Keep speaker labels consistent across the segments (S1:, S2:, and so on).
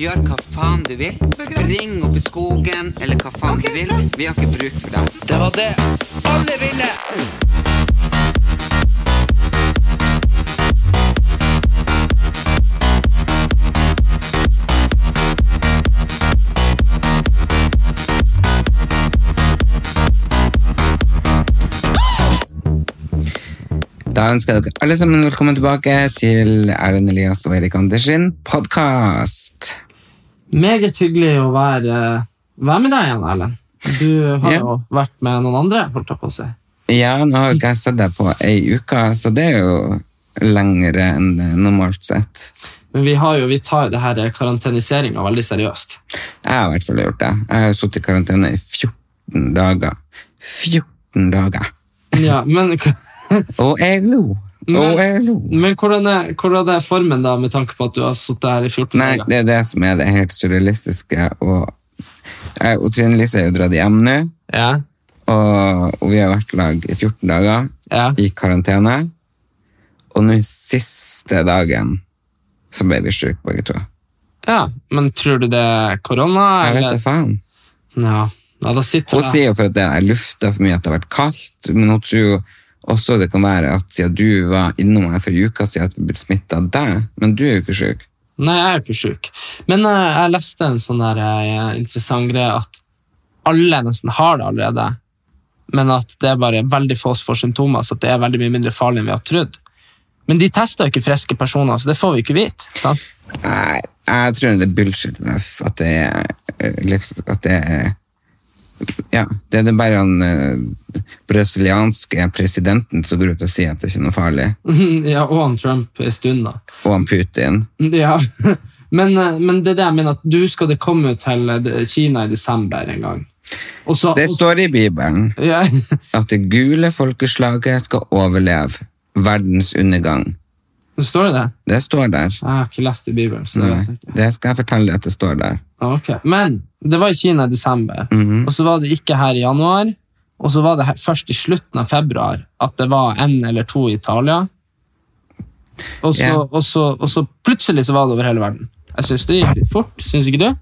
S1: Gjør hva faen du vil. Spring opp i skogen, eller hva faen du vil. Vi har ikke bruk for deg.
S2: Det var det alle ville!
S1: Da ønsker jeg dere alle sammen velkommen tilbake til Erlend Elias og Erik Andersen podkast.
S3: Meget hyggelig å være, være med deg igjen, Erlend. Du har
S1: Ja.
S3: jo vært med noen andre, holdt jeg på å si.
S1: Ja, nå har jo ikke jeg sett deg på ei uke, så det er jo lengre enn det normalt sett.
S3: Men vi, har jo, vi tar jo det her karanteniseringa veldig seriøst.
S1: Jeg har i hvert fall gjort det. Jeg har jo sittet i karantene i 14 dager. 14 dager.
S3: Ja, men,
S1: Og jeg lo.
S3: Men-
S1: Og jeg lo.
S3: men hvordan, er, hvordan er formen da, med tanke på at du har sittet her i 14
S1: Nei,
S3: dager?
S1: det er det som er det helt surrealistiske. Og, jeg og Trine Lise er jo dratt hjem nå,
S3: Ja,
S1: og, og vi har vært i lag i 14 dager
S3: ja.
S1: i karantene. Og nå siste dagen så ble vi syke begge to.
S3: ja, men tror du det er korona?
S1: Jeg vet
S3: eller?
S1: da faen.
S3: Ja, ja da sitter
S1: Hun
S3: jeg
S1: sier jo for at det er lufta for mye, at det har vært kaldt, men hun tror jo også det kan være at siden du var innom her for uka siden at vi ble smittet av deg, men du er jo ikke syk.
S3: Nei, jeg er jo ikke sjuk. Men eh, jeg leste en sånn der, eh, interessant greie at alle nesten har det allerede, men at det er bare veldig få som får symptomer, så at det er veldig mye mindre farlig enn vi har trodd. Men de tester jo ikke friske personer, så det får vi ikke vite. sant?
S1: Nei, jeg tror det er bullshit Leif, at det er eh, liksom, at det er ja, det er det bare han eh, brasilianske presidenten som går ut og sier at det ikke er noe farlig,
S3: ja, Og han Trump en stund, da.
S1: og han Putin.
S3: Ja, men, eh, men det er det jeg mener, at du skal det komme til eh, det- Kina i desember en gang. Og så,
S1: Det
S3: og,
S1: står i Bibelen
S3: ja,
S1: at det gule folkeslaget skal overleve verdens undergang.
S3: står det det?
S1: Det står der.
S3: Jeg har ikke lest i Bibelen, så det
S1: Nei,
S3: vet jeg ikke.
S1: det skal jeg fortelle deg at det står der.
S3: Ja, Ah, Ok, Men det var i Kina i desember,
S1: Mhm.
S3: og så var det ikke her i januar. Og så var det her, først i slutten av februar at det var en eller to i Italia. Og så,
S1: Ja.
S3: og så, og så plutselig så var det over hele verden. Jeg syns det gikk litt fort, syns ikke du?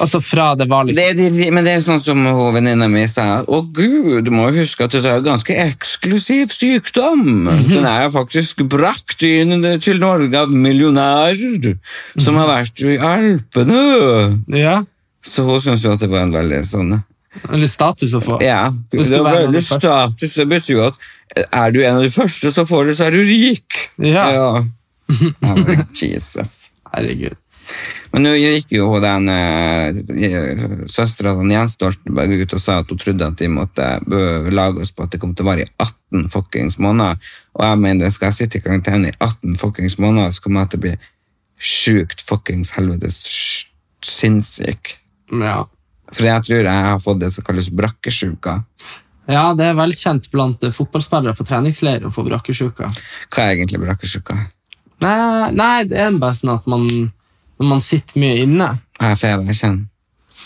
S3: Altså fra det var liksom
S1: Det er de, men det er sånn som hun venninna mi sa. Å gud, du må jo huske at det er en ganske eksklusiv sykdom.
S3: Mhm.
S1: Den er faktisk brakt inn til Norge av millionærer som har vært i Alpene.
S3: Ja,
S1: Så hun syntes jo at det var en veldig sånn
S3: Eller status å få.
S1: Ja,
S3: Hvis
S1: det
S3: du
S1: er
S3: var en av de
S1: veldig
S3: første.
S1: status. Det betyr jo at er du en av de første som får det, så er du rik.
S3: Ja.
S1: Ja, men Jesus.
S3: Herregud.
S1: Men nå gikk jo hun den eh, søstera til Jens Stoltenberg ut og sa at hun trodde at de måtte eh, lage oss på at det kom til å vare i 18 fuckings måneder. Og jeg mener, skal jeg sitte i karantene i 18 fuckings måneder, så kommer jeg til å bli sjukt fuckings helvetes sj- sinnssyk.
S3: Ja.
S1: For jeg tror jeg har fått det som kalles brakkesjuka.
S3: ja, det er velkjent blant eh, fotballspillere på treningsleir å få brakkesjuka.
S1: Hva er egentlig brakkesjuka?
S3: Nei, nei, det er bare sånn at man, når man sitter mye inne
S1: Har jeg feber? Jeg kjenner.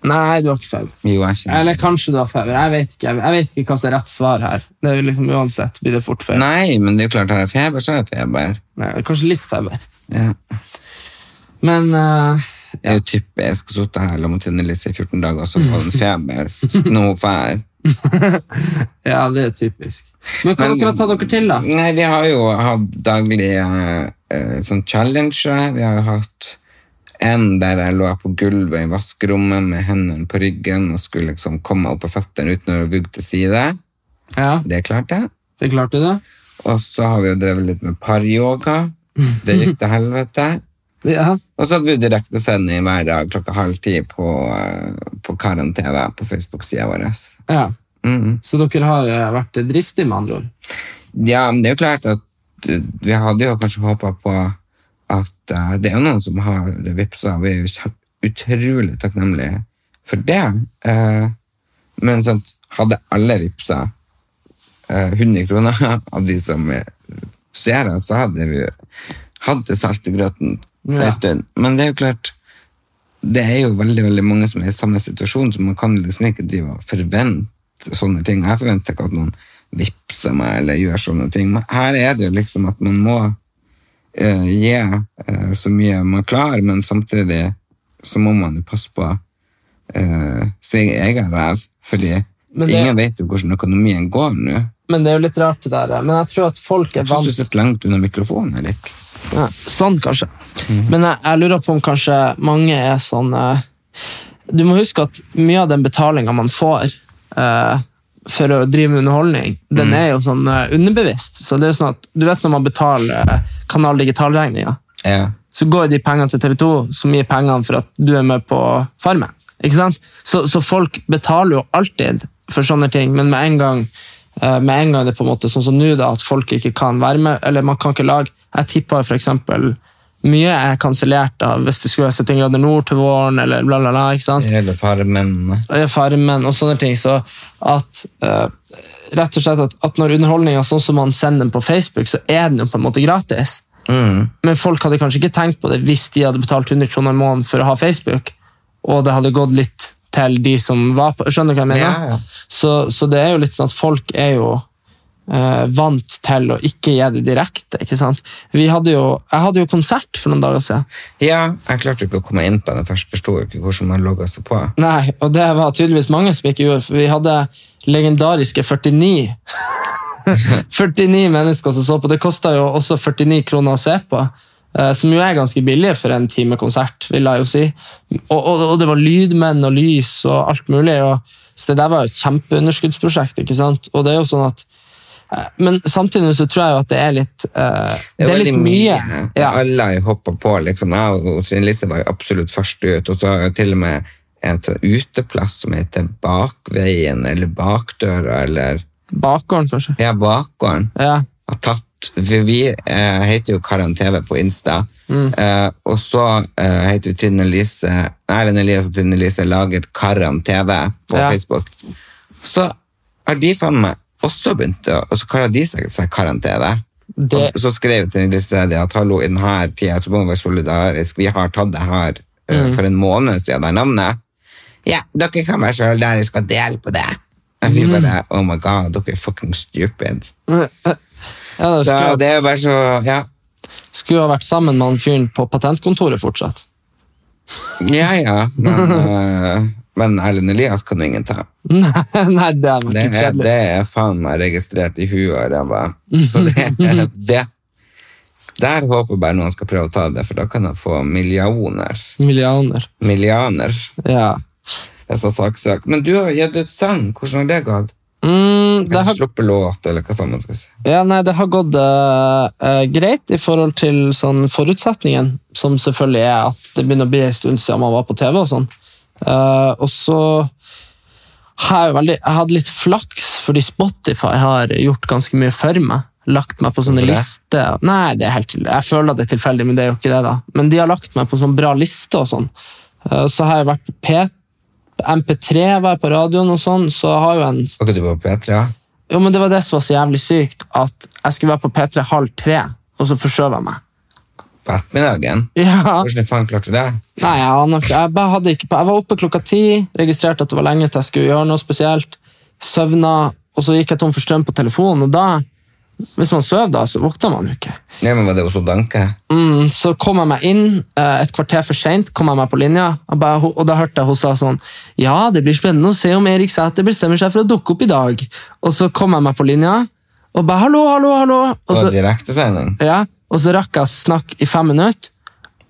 S3: Nei, du har ikke feber.
S1: Jo, jeg kjenner.
S3: Eller kanskje du har feber. Jeg vet ikke, jeg vet ikke hva som er rett svar her. Det er jo liksom Uansett blir det fort feber.
S1: Nei, men det er jo klart, har jeg feber, så har jeg feber.
S3: Nei, kanskje litt feber.
S1: Ja.
S3: Men eh,
S1: Det er jo typisk å sitte her og Trine Lise i 14 dager og så få en feber. Snofær.
S3: ja, det er typisk. Men hva
S1: Men-
S3: dere har tatt dere til, da?
S1: Nei, vi har jo hatt daglige eh, sånn challenger. Vi har jo hatt en der jeg lå på gulvet i vaskerommet med hendene på ryggen og skulle liksom komme opp på føttene uten å vugge til side.
S3: Ja,
S1: Det klarte jeg.
S3: Det klarte du?
S1: Og så har vi jo drevet litt med paryoga. Det gikk til helvete.
S3: Ja.
S1: Og så hadde vi direktesending hver dag klokka halv ti på, eh, på Karen TV på Facebook-sida vår.
S3: ja.
S1: Mhm.
S3: Så dere har eh, vært driftige, med andre ord?
S1: eh, Ja, men det er jo klart at uh, vi hadde jo kanskje håpa på at eh, det er noen som har vippsa, og vi er jo kjempe- utrolig takknemlige for det. Eh, men sånn, hadde alle vippsa eh, 100 kroner av de som eh, ser oss, så hadde vi hatt det salt i grøten en
S3: Ja.
S1: stund. Men det er jo klart, det er jo veldig, veldig mange som er i samme situasjon, så man kan liksom ikke drive og forvente sånne ting. Jeg forventer ikke at noen vipser meg eller gjør sånne ting. Men her er det jo liksom at man må eh, gi eh, så mye man klarer, men samtidig så må man jo passe på eh, sin egen ræv, fordi
S3: Men det-
S1: ingen vet jo hvordan økonomien går nå.
S3: Men det er jo litt rart, det der. Men jeg tror at folk er
S1: Jeg synes du
S3: vant
S1: sitter langt unna mikrofonen, Erik.
S3: Ja, Sånn, kanskje. Men jeg, jeg lurer på om kanskje mange er sånn eh, Du må huske at mye av den betalinga man får eh, for å drive med underholdning, den er jo sånn eh, underbevisst. Så det er jo sånn at Du vet når man betaler eh, Kanal Digital-regninga,
S1: Ja.
S3: så går de pengene til TV 2, som gir pengene for at du er med på Farmen. Ikke sant? Så, så folk betaler jo alltid for sånne ting, men med en gang eh, med en gang det på en måte sånn som nå, da, at folk ikke kan være med, eller man kan ikke lage Jeg tipper for eksempel mye er kansellert av hvis det skulle være 17 grader nord til våren, eller bla, bla, bla. ikke sant?
S1: Hele farmen.
S3: og Farmen og sånne ting. Så at eh, rett og slett at, at når underholdninga sånn som man sender den på Facebook, så er den jo på en måte gratis.
S1: Mm.
S3: Men folk hadde kanskje ikke tenkt på det hvis de hadde betalt 100 kroner i måneden for å ha Facebook, og det hadde gått litt til de som var på Skjønner du hva jeg mener?
S1: Ja, ja.
S3: Så, så det er jo litt sånn at folk er jo eh, vant til å ikke gi det direkte, ikke sant? Vi hadde jo, jeg hadde jo konsert for noen dager siden.
S1: Ja, jeg klarte jo ikke å komme inn på den først. Forsto jo ikke hvordan man logga seg på.
S3: Nei, og det var tydeligvis mange som ikke gjorde, for vi hadde legendariske 49 49 mennesker som så på. Det kosta jo også 49 kroner å se på, eh, som jo er ganske billig for en time konsert, vil jeg jo si. Og, og, og det var lydmenn og lys og alt mulig. Og, så det der var jo et kjempeunderskuddsprosjekt, ikke sant? Og det er jo sånn at eh, men samtidig så tror jeg jo at det er litt eh, Det er,
S1: veldig
S3: litt mye. Ja.
S1: Alle har hoppa på. liksom. Jeg og Trine Lise var jo absolutt først ut. Og så har jeg til og med en sånn uteplass som heter Bakveien eller Bakdøra eller
S3: Bakgården, kanskje.
S1: Ja, Bakgården.
S3: Ja.
S1: har tatt For vi eh, heter jo Karan TV på Insta.
S3: Mm.
S1: Eh, og så eh, heter vi Trine Lise Erlend Elias og Trine Lise lager Karan TV på
S3: Ja.
S1: Facebook. Så har de faen meg også begynt å Og så kaller de seg, seg Karan TV.
S3: Det-
S1: Og så skrev Trine Lise det at hallo, i denne tida så må vi være solidarisk. Vi har tatt det her eh,
S3: Mm.
S1: for en måned siden, det er navnet. Ja, dere kan være solidariske og dele på det. Jeg blir
S3: Mm.
S1: bare Oh my god, dere er fucking stupid.
S3: Ja,
S1: Så
S3: det skulle,
S1: det er jo bare så Ja,
S3: skulle ha vært sammen med han fyren på patentkontoret fortsatt.
S1: ja. ja. Men, eh, men Erlend Elias kan jo ingen ta.
S3: Nei, nei, det er
S1: Det
S3: ikke
S1: er,
S3: kjedelig.
S1: det er faen meg registrert i huet og ræva. Så det, det Der håper jeg bare noen skal prøve å ta det, for da kan jeg få millioner.
S3: Millioner.
S1: Millianer.
S3: Ja.
S1: Jeg sa saksøk. Men du har jo gitt ut sang. Hvordan har det gått?
S3: Mm, det,
S1: Eller
S3: har,
S1: sluppet låt, eller hva faen man skal si.
S3: ja, nei, det har gått eh, eh, greit i forhold til sånn forutsetningen, som selvfølgelig er at det begynner å bli en stund siden man var på TV. og sånn. Eh, og så har jeg, jo veldig, jeg hadde litt flaks, fordi Spotify har gjort ganske mye for meg. Lagt meg på sånne
S1: Hvorfor det?
S3: lister. Nei, det er helt til- jeg føler at det er tilfeldig, men det er jo ikke det. da. Men de har lagt meg på sånn bra liste og sånn. Eh, så har jeg vært på P MP3 var jeg på radioen og sånn, så har jo en
S1: Var ikke du på P3? ja?
S3: Jo, men Det var det som var så jævlig sykt, at jeg skulle være på P3 halv tre, og så forskjøv jeg meg.
S1: På ettermiddagen?
S3: Ja,
S1: Hvordan faen klarte du det?
S3: Nei, jeg, aner ikke. jeg, bare hadde ikke på. jeg var oppe klokka ti, registrerte at det var lenge til jeg skulle gjøre noe spesielt, søvna, og så gikk jeg tom for strøm på telefonen, og da, hvis man søv da, så våkner man jo ikke.
S1: Nei, men Var det Oslo Danke?
S3: Mm, så kom jeg meg inn, eh, et kvarter for sent kom jeg meg på linja, og, bare, og da hørte jeg hun sa sånn, ja, det blir spennende å se om Erik Sæter bestemmer seg for å dukke opp i dag. Og så kom jeg meg på linja, og bare, hallo, hallo, hallo. Og
S1: På
S3: så,
S1: direktesending?
S3: ja, og så rakk jeg å snakke i fem minutter,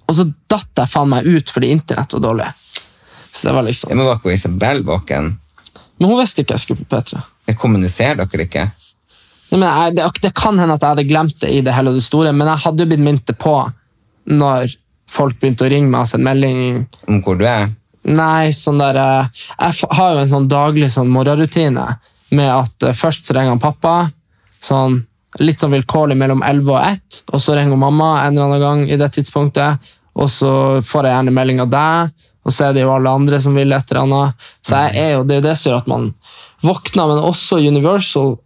S3: og så datt jeg faen meg ut fordi internett var dårlig. Så det var
S1: Ja,
S3: liksom...
S1: men var ikke Isabel våken?
S3: Men hun visste ikke jeg skulle på P3.
S1: Jeg kommuniserer dere ikke?
S3: Nei, men jeg, det, det kan hende at jeg hadde glemt det i det hele og det store, men jeg hadde jo blitt minnet på når folk begynte å ringe meg og sende melding.
S1: om hvor du er.
S3: Nei, sånn der... eh, Jeg f- har jo en sånn daglig sånn morgenrutine med at eh, først så ringer han pappa, sånn, litt sånn vilkårlig mellom 11 og 1, og så ringer mamma en eller annen gang i det tidspunktet, og så får jeg gjerne melding av deg, og så er det jo alle andre som vil et eller annet. Så jeg er jo, det er jo det som gjør at man våkner, men også Universal,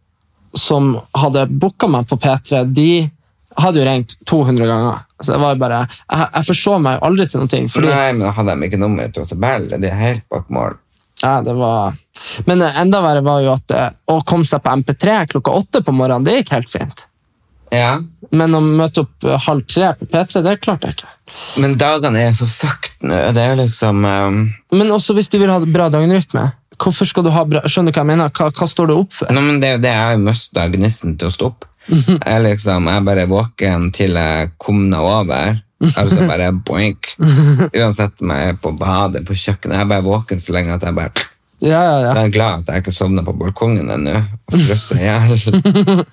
S3: som hadde booka meg på P3, de hadde jo ringt 200 ganger. Så det var jo bare, jeg, jeg forså meg jo aldri til noen ting, fordi
S1: Nei, men da hadde de ikke nummeret til Isabel. Det er helt bak mål.
S3: Ja, det var... Men eh, enda verre var jo at eh, å komme seg på MP3 klokka åtte på morgenen, det gikk helt fint.
S1: Ja,
S3: Men å møte opp eh, halv tre på P3, det klarte jeg ikke.
S1: men dagene er så fucked nå. Det er jo liksom eh,
S3: Men også hvis du vil ha bra døgnrytme, hvorfor skal du ha bra... Skjønner du hva jeg mener? Hva, hva står du opp for?
S1: Nei, men det er jo det jeg mista gnisten til å stå opp. Jeg liksom, jeg bare er våken til jeg komna over. Altså bare boink. Uansett om jeg er på badet, på kjøkkenet. Jeg er bare våken så lenge at jeg bare
S3: Ja, ja,
S1: Så
S3: ja.
S1: jeg er glad at jeg ikke sovna på balkongen ennå og frøs i hjel.
S3: Jeg er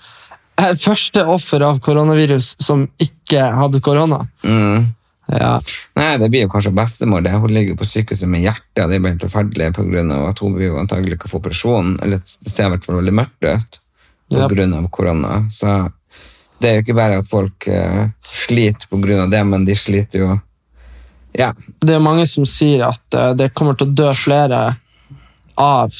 S3: Eh, Første offer av koronavirus som ikke hadde korona.
S1: Mm.
S3: Ja.
S1: Nei, det blir jo kanskje bestemor. det. Hun ligger på sykehuset med hjertet. Det er bare helt forferdelig på grunn av at hun blir jo antagelig ikke få operasjon. Eller det ser i hvert fall veldig mørkt ut på
S3: Ja.
S1: grunn av korona. Så det er jo ikke bare at folk eh, sliter på grunn av det, men de sliter jo Ja.
S3: Det er mange som sier at eh, det kommer til å dø flere av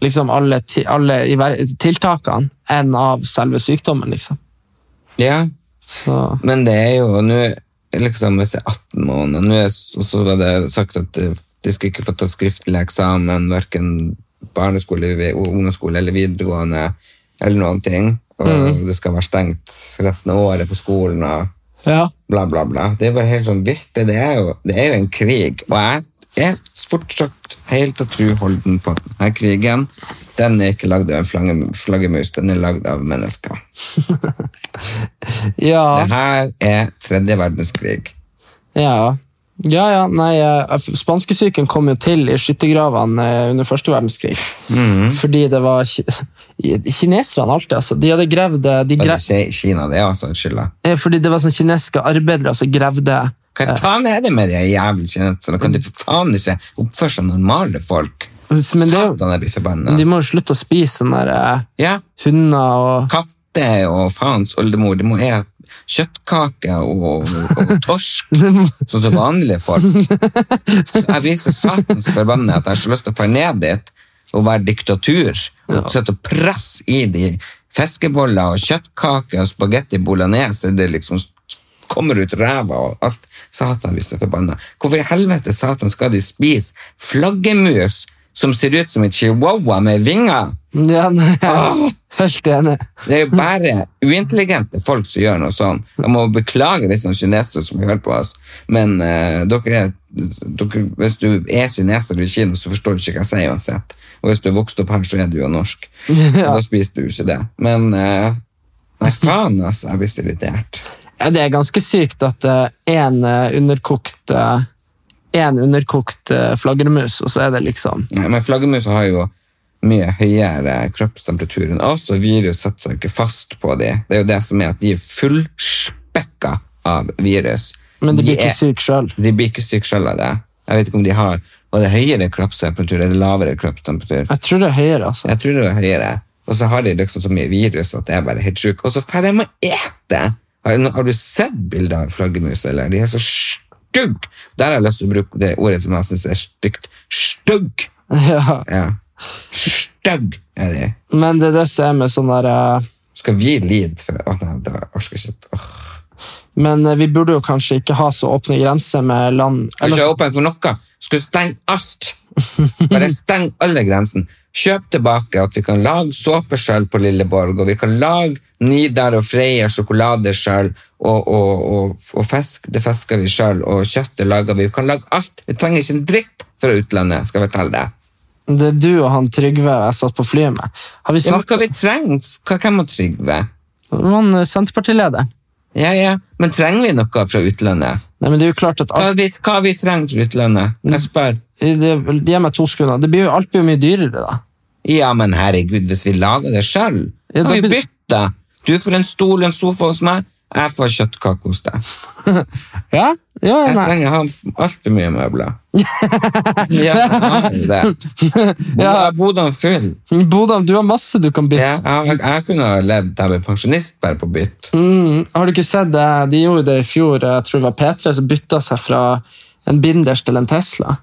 S3: liksom alle, ti, alle i hver- tiltakene enn av selve sykdommen, liksom.
S1: ja.
S3: Så...
S1: Men det er jo nå liksom, Hvis det er 18 måneder nå er- Og så var det sagt at eh, de skal ikke få ta skriftlig eksamen, hverken barneskole, vi- ungdomsskole eller videregående, eller noen ting. Og det skal være stengt resten av året på skolen og
S3: Ja.
S1: bla, bla, bla. Det er bare helt sånn vilt. Det er jo, det er jo en krig. Og jeg er fortsatt helt og tru holden på denne krigen. Den er ikke lagd av en flagge- flaggermus, den er lagd av mennesker. Det
S3: Ja,
S1: her er tredje verdenskrig.
S3: ja. Ja, ja, nei, eh, Spanskesyken kom jo til i skyttergravene eh, under første verdenskrig.
S1: Mhm.
S3: Fordi det var ki Kineserne alltid, altså. De hadde gravd eh, de
S1: Og
S3: gra
S1: det skjer i Kina, det er også en skylda.
S3: eh, Fordi det var sånne kinesiske arbeidere som gravde
S1: Hva faen er det med de jævla kineserne? Kan de for faen ikke oppføre seg normale folk?
S3: Men det er jo
S1: Satan, jeg blir forbanna.
S3: Men de må jo slutte å spise sånne der, eh,
S1: Ja,
S3: hunder og
S1: katter og faens oldemor, de må ete kjøttkaker og, og torsk, sånn som vanlige folk. Så jeg blir så satans forbanna at jeg har så lyst til å dra ned dit og være diktatur. Og sette og presse i de fiskeboller og kjøttkaker og spagetti bolognese. Det liksom kommer ut ræva og alt. Satan blir så forbanna. Hvorfor i helvete satan skal de spise flaggermus som ser ut som en chihuahua med vinger?
S3: Ja, nei, jeg er helt enig.
S1: Det er jo bare uintelligente folk som gjør noe sånn. Jeg må beklage hvis noen kinesere som hører på oss, men eh, dere er, dere, hvis du er kineser i Kina, så forstår du ikke hva jeg sier uansett. Og hvis du er vokst opp her, så er du jo norsk. Da spiser du jo ikke det. Men eh, nei, faen altså, jeg blir så irritert.
S3: Ja, det er ganske sykt at én underkokt eh, en underkokt eh, flaggermus, og så er det liksom
S1: Nei, men flaggermus har jo mye høyere kroppstemperatur enn oss, og virus setter seg ikke fast på dem. Det er jo det som er at de er fullspekka av virus.
S3: Men de blir
S1: er-
S3: ikke syke sjøl.
S1: De blir ikke syke selv av det. Jeg vet ikke om de har Var det høyere kroppstemperatur eller lavere kroppstemperatur?
S3: Jeg tror det er høyere, altså.
S1: Jeg tror det var høyere. Og så har de liksom så mye virus at jeg er bare helt sjuk. Og så får de å ete! Har, har du sett bilder av flaggermus, eller? De er så stygge! Der har jeg lyst til å bruke det ordet som jeg syns er stygt. Stygg!
S3: Ja.
S1: Ja. Stygg er de.
S3: Men det er det som er med sånn der eh,
S1: Skal vi lide for Å, nei, det orker jeg ikke. Åh.
S3: Men eh, vi burde jo kanskje ikke ha så åpne grenser med land
S1: Skal
S3: eller
S1: ikke
S3: så-
S1: åpne for noe. Skulle stenge alt. Bare steng alle grensene. Kjøp tilbake at vi kan lage såpe sjøl på Lilleborg, og vi kan lage Nidar og Freia sjokolade sjøl, og, og, og, og fisk det fisker vi sjøl, og kjøttet lager vi. Vi kan lage alt. Vi trenger ikke en dritt fra utlandet, skal jeg fortelle deg.
S3: Det er du og han Trygve jeg satt på flyet med. Har vi
S1: Ja, men
S3: snakket
S1: hva vi trenger? Hva kan man Trygve?
S3: om han eh, Senterpartilederen?
S1: Ja, ja, men trenger vi noe fra utlandet?
S3: Nei, men det er jo klart at alt
S1: Hva vi, hva vi trenger fra utlandet? Jeg spør.
S3: det, Gi meg to sekunder. Det blir jo, alt blir jo mye dyrere, da.
S1: Ja, men herregud, hvis vi lager det sjøl,
S3: Ja,
S1: kan
S3: da
S1: vi
S3: blir-
S1: bytte. Du får en stol og en sofa hos meg, Jeg får kjøttkake hos deg.
S3: Ja, ja
S1: Jeg
S3: nei.
S1: trenger å ha altfor mye møbler. ja, det.
S3: Ja.
S1: Jeg bodde han full.
S3: Bodam, du har masse du kan bytte.
S1: Ja, jeg, jeg kunne ha levd der med pensjonist bare på bytt.
S3: Mm, har du ikke sett det? De gjorde det i fjor, eh, jeg tror det var P3, som bytta seg fra en binders til en Tesla.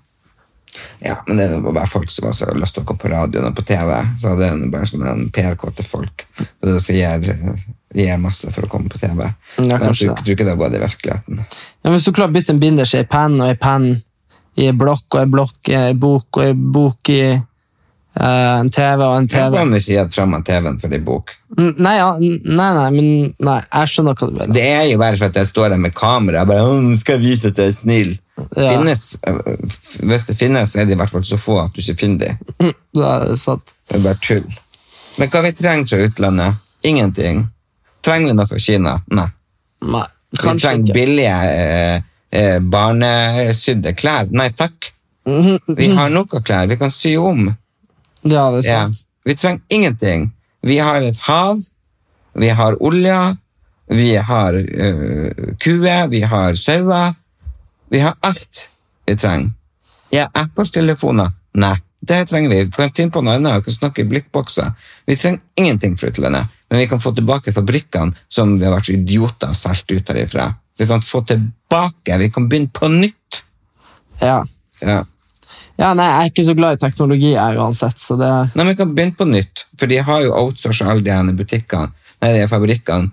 S1: Ja, men det var bare folk som også hadde lyst til å komme på radioen og på TV. Så det er jo bare sånn en PRK til folk. Og det også gir, gir masse for å komme på TV. men jeg
S3: kanskje
S1: tror,
S3: det.
S1: tror ikke det har gått i virkeligheten.
S3: Ja, men hvis du klarer å bytte en binders i en penn og en penn i en blokk og en blokk i en bok og en bok i eh, en TV og en
S1: Jeg
S3: TV
S1: kan ikke gitt frem av TV-en for en bok.
S3: Mm, Nei, ja, n- nei, nei, men nei, jeg skjønner hva du mener.
S1: Det er jo bare for at jeg står der med kamera og bare «Å, nå skal jeg vise at jeg er snill.
S3: Ja.
S1: Finnes, øh, f- hvis det finnes, så er det i hvert fall så få at du ikke finner dem.
S3: Det er sant.
S1: Det er bare tull. Men hva vi trenger fra utlandet? Ingenting. Trenger vi noe fra Kina? Nei.
S3: Nei,
S1: vi
S3: kanskje
S1: trenger
S3: ikke.
S1: billige eh, eh, barnesydde klær. Nei takk.
S3: Mhm.
S1: Vi har nok av klær. Vi kan sy om.
S3: Ja, det er
S1: Ja.
S3: sant.
S1: Vi trenger ingenting. Vi har et hav, vi har olja, vi har eh, kuer, vi har sauer. Vi har alt vi trenger. Ja, Apple-telefoner? Nei, det trenger vi. Vi kan finne på noe annet, vi kan snakke i blikkbokser. Vi trenger ingenting fra utlandet, men vi kan få tilbake fabrikkene som vi har vært så idioter og solgt ut herifra. Vi kan få tilbake, vi kan begynne på nytt.
S3: Ja.
S1: Ja.
S3: ja, nei, jeg er ikke så glad i teknologi jeg uansett, så det
S1: Nei, men vi kan begynne på nytt, for de har jo outsourcet alle de her butikkene, nei, de her fabrikkene.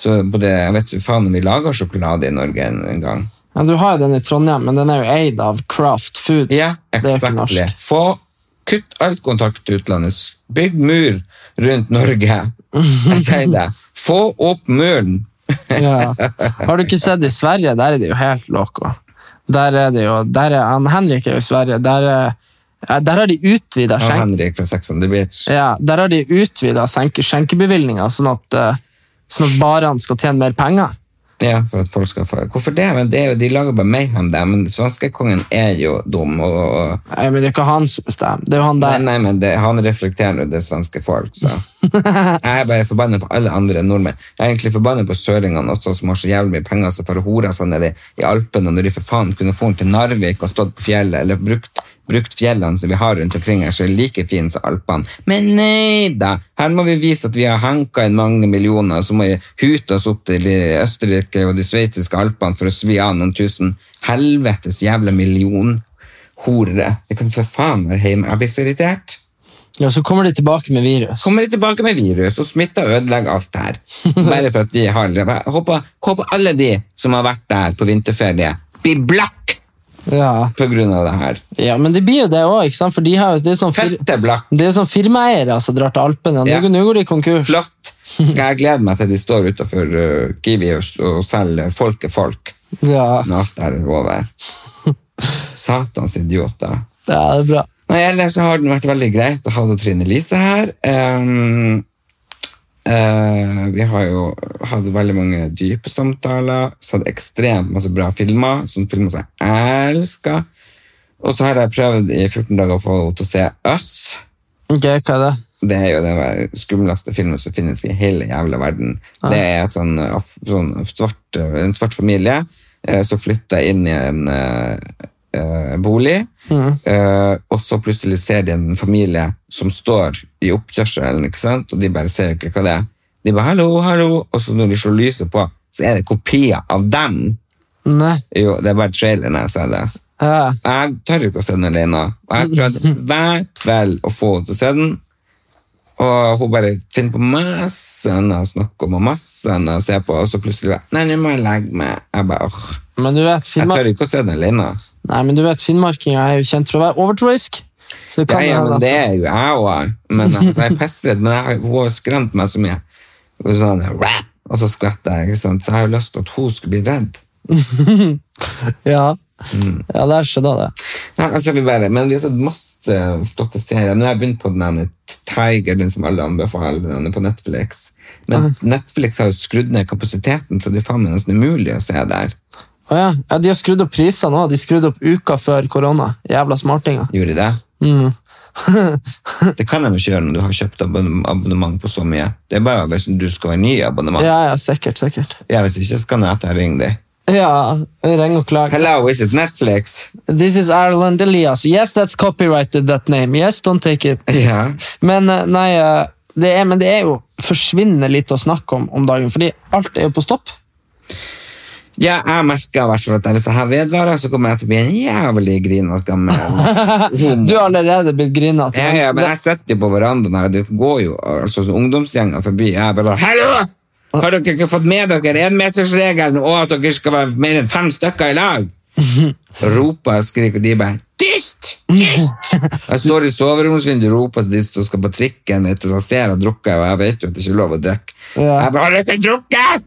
S1: Så på det, jeg vet ikke faen om vi lager sjokolade i Norge en, en gang.
S3: ja, Du har jo den i Trondheim, men den er jo eid av Craft Foods.
S1: Ja,
S3: det er jo ikke
S1: exactly.
S3: norsk.
S1: Få, kutt alt kontakt til utlandet. S- Bygg mur rundt Norge. Jeg sier det. Få opp muren.
S3: Ja. Har du ikke sett i Sverige? Der er det jo helt loco. Der er det jo, der er, han Henrik er jo i Sverige. Der, er, ja, der har de utvida
S1: Og
S3: skjenk,
S1: Henrik fra Sex on the Beach.
S3: ja, der har de utvidet skjenk, skjenkebevilgninga, sånn at, eh, sånn at barene skal tjene mer penger.
S1: Ja, for at folk skal få... Hvorfor det? Men det er jo, de lager bare mayhem der, men svenskekongen er jo dum, og... og
S3: Nei, men det er jo ikke han som bestemmer. Det er jo han
S1: Nei,
S3: der.
S1: nei, men det, han reflekterer nå det svenske folk, så. Jeg er bare forbannet på alle andre nordmenn. Jeg er egentlig forbannet på søringene også, som har så jævlig mye penger, så for å hore seg nede i Alpene, når de for faen kunne få den til Narvik og stått på fjellet, eller brukt, brukt fjellene som vi har rundt omkring her, så er det like fint som Alpene. Men nei da! Her må vi vise at vi har hanka inn mange millioner, og så må vi hute oss opp til de Østerrike og de sveitsiske Alpene for å svi av noen tusen helvetes jævla million horere. Jeg kan for faen være hjemme. Jeg blir så irritert.
S3: Ja, så kommer de tilbake med virus.
S1: Kommer de tilbake med virus og smitter og ødelegger alt det her. Bare for at de har Jeg håper, håper alle de som har vært der på vinterferie, blir blakk
S3: Ja.
S1: på grunn av det her.
S3: ja, men de blir jo det òg, ikke sant? For de har jo, det er jo sånn, fir
S1: Fette blakk.
S3: det er jo sånn firmaeiere som drar til Alpene. og Nå
S1: Ja.
S3: nå går de konkurs.
S1: Flott. Skal jeg glede meg til de står utenfor uh, Kiwi og, og selger folket folk
S3: Ja.
S1: når alt det her er over. Satans idioter.
S3: ja, det er bra.
S1: Nei, ellers så har den vært veldig greit å ha det Trine Lise her. Ehm, eh, vi har jo hatt veldig mange dype samtaler, sett ekstremt masse bra filmer, sånne filmer som jeg elsker. Og så har jeg prøvd i 14 dager å få henne til å se Us.
S3: Ok, hva er det?
S1: Det er jo den skumleste filmen som finnes i hele jævla verden. Det er et sånn, eh, af- sånn svart, en svart familie eh, som flytter inn i en eh, eh, bolig, eh, og så plutselig ser de en familie som står i oppkjørselen, ikke sant? og de bare ser ikke hva det er. De bare 'hallo, hallo', og så når de slår lyset på, så er det kopier av dem.
S3: Nei.
S1: Jo, det er bare traileren jeg ser det. altså.
S3: Ja.
S1: Jeg tør ikke å se den alene. Og jeg prøvde hver kveld å få henne til å se den. Og hun bare finner på masse annet å snakke om og masse annet å se på, og så plutselig bare Nei, nå må jeg legge meg. Jeg bare åh.
S3: Men du vet,
S1: Jeg
S3: Finnmark...
S1: tør ikke å se den alene.
S3: Nei, men du vet, finnmarkinger er jo kjent for å være overtroisk. Så det
S1: Ja,
S3: kan
S1: ja,
S3: hende
S1: men
S3: at-
S1: det er jo jeg òg. Men altså, jeg er pestredd, men jeg, hun har skremt meg så mye. Og Sånn, «Rah!» og så skvetter jeg, ikke sant. Så jeg har jo lyst til at hun skulle bli redd.
S3: Ja.
S1: Mm.
S3: ja, der skjedde det.
S1: Nei, altså, vi bare, men vi har sett masse flotte serier. Nå har jeg begynt på den ene Tiger, den som alle anbefaler, den er på Netflix. Men Netflix har jo skrudd ned kapasiteten, så det er faen meg nesten umulig å se der.
S3: Å ja. ja, de har skrudd opp priser nå. De skrudde opp uka før korona. Jævla smartinger.
S1: Gjorde de det?
S3: Mm.
S1: Det kan de ikke gjøre når du har kjøpt abonn- abonnement på så mye. Det er bare hvis du skal ha ny abonnement. Ja.
S3: Ja, ja, sikkert, sikkert.
S1: hvis ikke skal Neta ringe deg.
S3: Ja, ring og klag.
S1: Hello, is it Netflix?
S3: This is Ireland Elias. Yes, that's copyrighted, that name. Yes, don't take it.
S1: Ja.
S3: Men eh, nei, eh, det er, men det er jo forsvinnende lite å snakke om om dagen, fordi alt er jo på stopp.
S1: Ja, jeg merker i hvert fall at hvis det her vedvarer, så kommer jeg til å bli en jævlig grinete gammel homo.
S3: Du har allerede blitt grina til.
S1: Mm. Ja, ja, men jeg sitter jo på verandaen her, og det går jo altså, sånn ungdomsgjenger forbi. Jeg bare Hallo! Har dere ikke fått med dere enmetersregelen og at dere skal være mer enn fem stykker i lag? Roper og skriker, og de bare Tyst! Tyst! Jeg står i soveromsvinduet og roper til de som skal på trikken, vet du, og ser og drukker, og jeg vet jo at det ikke er lov å drikke.
S3: Ja.
S1: Jeg bare Har dere ikke drukket?!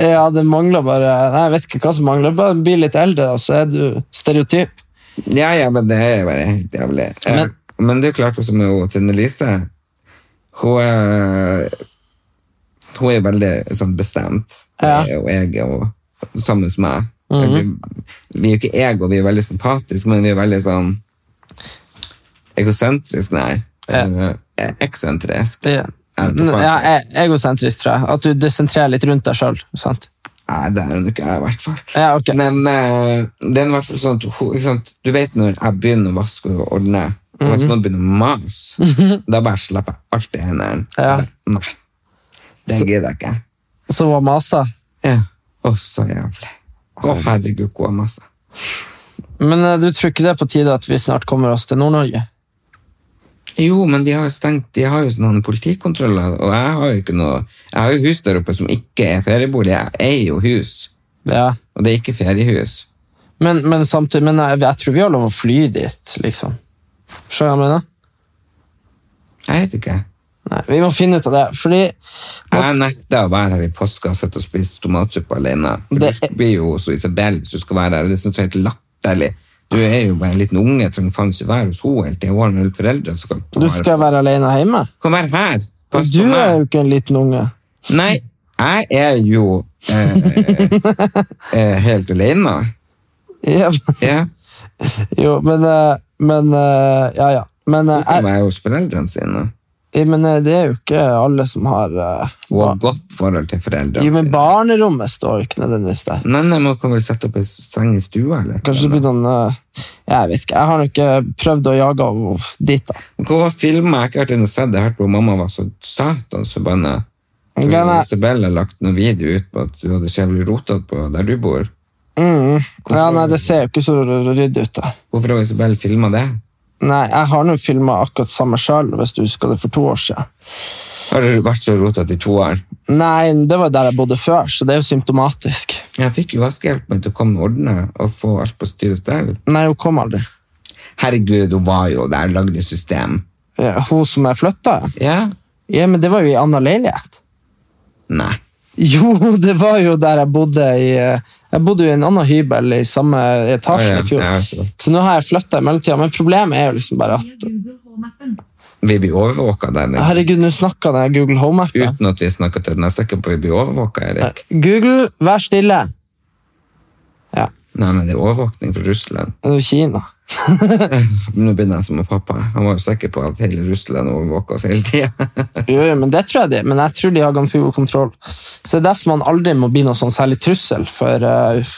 S3: Ja, det mangler bare Nei, jeg vet ikke hva som mangler. Bare bli litt eldre, da, så er du stereotyp.
S1: Ja, ja, men det er jo bare helt jævlig. Eh,
S3: Men-
S1: men det er jo klart også med henne, Tine Lise. Hun er, hun er veldig sånn bestemt.
S3: Ja. Mhm.
S1: Eh, Og jeg er jo sammen med meg. vi, vi er jo ikke ego, vi er veldig sympatiske, men vi er veldig sånn egosentrisk, nei.
S3: Ja.
S1: Eh, eksentrisk.
S3: Ja.
S1: Jeg vet ikke faen.
S3: Ja, e- egosentrisk, tror jeg. At du desentrerer litt rundt deg sjøl.
S1: Nei, det er hun ikke, jeg, i hvert fall.
S3: Ja, ok.
S1: Men eh, det er i hvert fall sånn at hun- ikke sant? Du vet når jeg begynner å vaske og ordne, og hvis
S3: Mhm.
S1: noen begynner å mase, da bare slipper jeg alltid hendene.
S3: Ja.
S1: Jeg bare, Nei, det gidder jeg ikke.
S3: Så var masa.
S1: Ja. Å, så jævlig. Å, herregud, hvor jeg maser.
S3: Men eh, du tror ikke det er på tide at vi snart kommer oss til Nord-Norge?
S1: Jo, men de har jo stengt, de har jo sånne politikontroller, og jeg har jo ikke noe, jeg har jo hus der oppe som ikke er feriebolig, jeg eier jo hus,
S3: Ja.
S1: og det er ikke feriehus.
S3: Men, men samtidig Men eh, jeg, jeg tror vi har lov å fly dit, liksom. Skjønner du hva jeg mener?
S1: Jeg vet ikke.
S3: Nei, vi må finne ut av det. Fordi
S1: Jeg nekter å være her i påska og sitte og spise tomatsuppe alene. For
S3: Det-
S1: Du blir jo hos Isabel hvis du skal være her, og det synes jeg er helt latterlig. Du er jo bare en liten unge, trenger faen ikke være hos henne hele tiden. Hun har null foreldre som kan ta
S3: du
S1: vare
S3: skal
S1: på-
S3: være alene hjemme.
S1: Kom her her!
S3: Men
S1: Pass
S3: du
S1: på
S3: er jo
S1: meg!
S3: ikke en liten unge.
S1: Nei, jeg er jo eh, eh, helt alene.
S3: Ja, men-
S1: Ja,
S3: jo, men eh, Men eh, Ja, ja. Men, eh,
S1: jeg er hos foreldrene sine.
S3: jeg, men eh, det er jo ikke alle som har eh,
S1: Hun har
S3: ba-
S1: godt forhold til foreldrene
S3: Jo, men
S1: sine.
S3: barnerommet står ikke nødvendigvis der.
S1: Nei, nei, men hun kan vel sette opp en seng i stua, eller?
S3: Kanskje det blir noen eh, Jeg vet ikke. Jeg har nå ikke prøvd å jage henne dit, da.
S1: Hvorfor filmer jeg ikke vært inne og sett det? Jeg hørte på mamma var så satans forbanna. Eh,
S3: Ok, nei.
S1: Isabel har lagt noen video ut på at du hadde kjevlig rotet på der du bor.
S3: Mm. Ja, nei, det ser jo ikke så ryddig ut der.
S1: Hvorfor har Isabel filma det?
S3: Nei, jeg har nå filma akkurat samme sjøl, hvis du husker det for to år siden.
S1: Har du vært så rotete i to år?
S3: Nei, det var der jeg bodde før, så det er jo symptomatisk.
S1: Jeg fikk jo vaskehjelpen til å komme og ordne og få alt på styr og stell.
S3: Nei, hun kom aldri.
S1: Herregud, hun var jo der, lagde system.
S3: Ja, Hun som jeg flytta?
S1: Ja?
S3: Ja, men det var jo i anna leilighet.
S1: Nei.
S3: Jo, det var jo der jeg bodde i eh, Jeg bodde jo i en annen hybel i samme etasje
S1: Ja, ja,
S3: i fjor.
S1: ja, så.
S3: Så nå har jeg flytta i mellomtida, men problemet er jo liksom bare at
S1: Vi blir overvåka der nede.
S3: Herregud, nå snakka den Google Home-appen.
S1: Uten at vi snakker til den. Jeg er sikker på at vi blir overvåka, Erik.
S3: Google, vær stille! Ja,
S1: Nei, men det er overvåkning fra Russland.
S3: det er jo Kina.
S1: Nå begynner jeg som med pappa. Han var jo sikker på at hele Russland overvåka oss hele tida.
S3: Jo, jo, men det tror jeg de Men jeg tror de har ganske god kontroll. Så det er derfor man aldri må bli noe sånn særlig trussel. For eh, uff.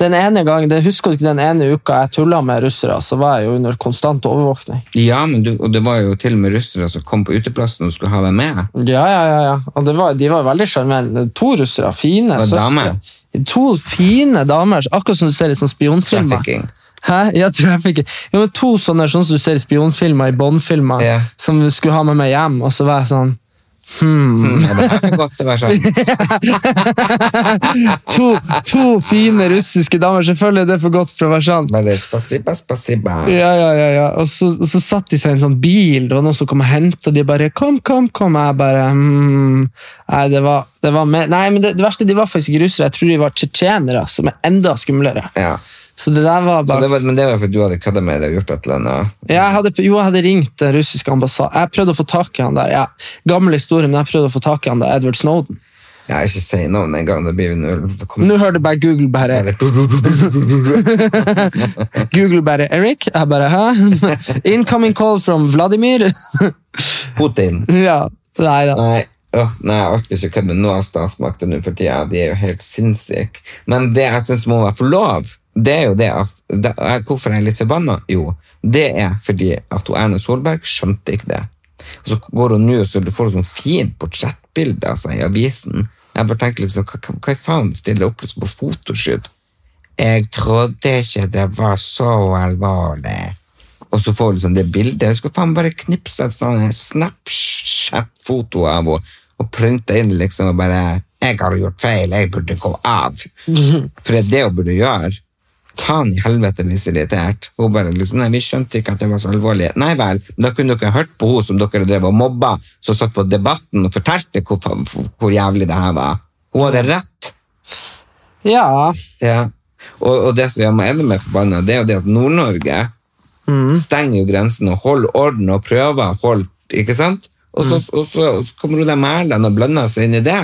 S3: den ene gangen, det husker du ikke den ene uka jeg tulla med russere, så var jeg jo under konstant overvåkning.
S1: ja, men du, og det var jo til og med russere som kom på uteplassen og skulle ha deg med.
S3: Ja, ja, ja. ja. Og det var, de var veldig sjarmerende. To russere, fine
S1: Og
S3: søstre.
S1: damer.
S3: To fine damer, akkurat som du ser i sånne spionfilmer.
S1: Trafficking.
S3: Hæ? Ja, trafficking. Jo, men to sånne sånn som du ser i spionfilmer, i Bond-filmer,
S1: Ja.
S3: som skulle ha med meg hjem, og så var jeg sånn
S1: Ja, det er så godt å være sånn.
S3: to, to fine russiske damer. Selvfølgelig er det for godt for å være sant.
S1: Bare spasiba, spasiba.
S3: Ja, ja, ja, ja. Og så, og så satt de seg i en sånn bil, det var noen som kom og hentet, og de bare 'kom, kom, kom'. Jeg bare hmm. Nei, det var, det var mer Nei, men det, det verste, de var faktisk ikke russere. Jeg tror de var tsjetsjenere, som er enda skumlere.
S1: Ja.
S3: Så det der var
S1: Så
S3: bare
S1: det var, men det var fordi du hadde kødda med det og gjort et eller annet.
S3: Ja, jeg hadde, jo, jeg hadde ringt eh, den russiske ambassaden. Jeg prøvde å få tak i han der. Ja. Gammel historie, men jeg prøvde å få tak i han der Edward Snowden.
S1: Jeg har ikke si navn engang. Det blir en ulv. Det kommer-
S3: Nå hørte bare Google bare Google bare Eric. Jeg bare hæ? Incoming call from Vladimir.
S1: Putin.
S3: ja, nei da.
S1: Nei, åh, nei jeg orker ikke kødde med noe av statsmakten nå for tida. De er jo helt sinnssyke. Men det jeg syns må være for lov, det er jo det at det, jeg- Hvorfor jeg er litt forbanna? Jo, det er fordi at hun Erna Solberg skjønte ikke det. Og så går hun nå og så får hun sånn fint portrettbilde av seg i avisen. Jeg bare tenker liksom, hva, hva- hva i faen stiller opp liksom på fotoshoot? Jeg trodde ikke det var så alvorlig. Og så får du liksom det bildet. Jeg skulle faen bare knipse et sånn Snapchat-foto av henne og printe inn liksom og bare 'Jeg har gjort feil, jeg burde gå av'. For det er det hun burde gjøre. Faen i helvete hvis jeg er irritert. Hun bare liksom 'Nei, vi skjønte ikke at det var så alvorlig'. Nei vel, da kunne dere hørt på henne som dere drev og mobba, som satt på Debatten og fortalte hvor, fa- hvor jævlig det her var. Hun hadde rett.
S3: Ja.
S1: Ja. Og, og det som gjør meg enda mer forbanna, det er jo det at Nord-Norge stenger jo grensen og holder orden og prøver, hold, ikke sant? Og så, og så, og så kommer jo de Mæland og blander seg inn i det.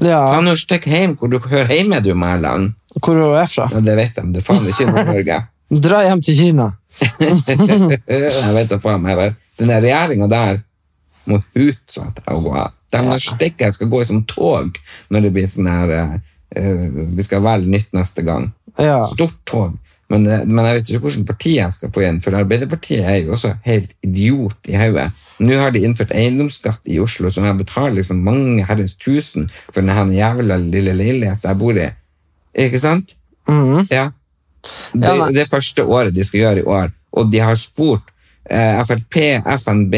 S3: ja.
S1: Kan jo stikke hjem hvor du hører hjemme, du Mæland.
S3: Hvor hun er fra?
S1: Ja, det vet de, du faen ikke i Nord-Norge.
S3: Dra hjem til Kina.
S1: jeg vet da faen meg vel. Den der regjeringen der må utsette å gå av. De ja. stikker, jeg skal gå i som tog når det blir sånn her eh, eh, Vi skal velge nytt neste gang.
S3: Ja.
S1: Stort tog. Men, eh, men jeg vet ikke hvilket parti jeg skal få igjen, for Arbeiderpartiet er jo også helt idiot i hodet. Nå har de innført eiendomsskatt i Oslo, som jeg betaler liksom mange herrens tusen for denne jævla lille leiligheten jeg bor i. Ikke sant? Ja. Det,
S3: Ja, nei.
S1: det er første året de skal gjøre i år, og de har spurt eh, Frp, FNB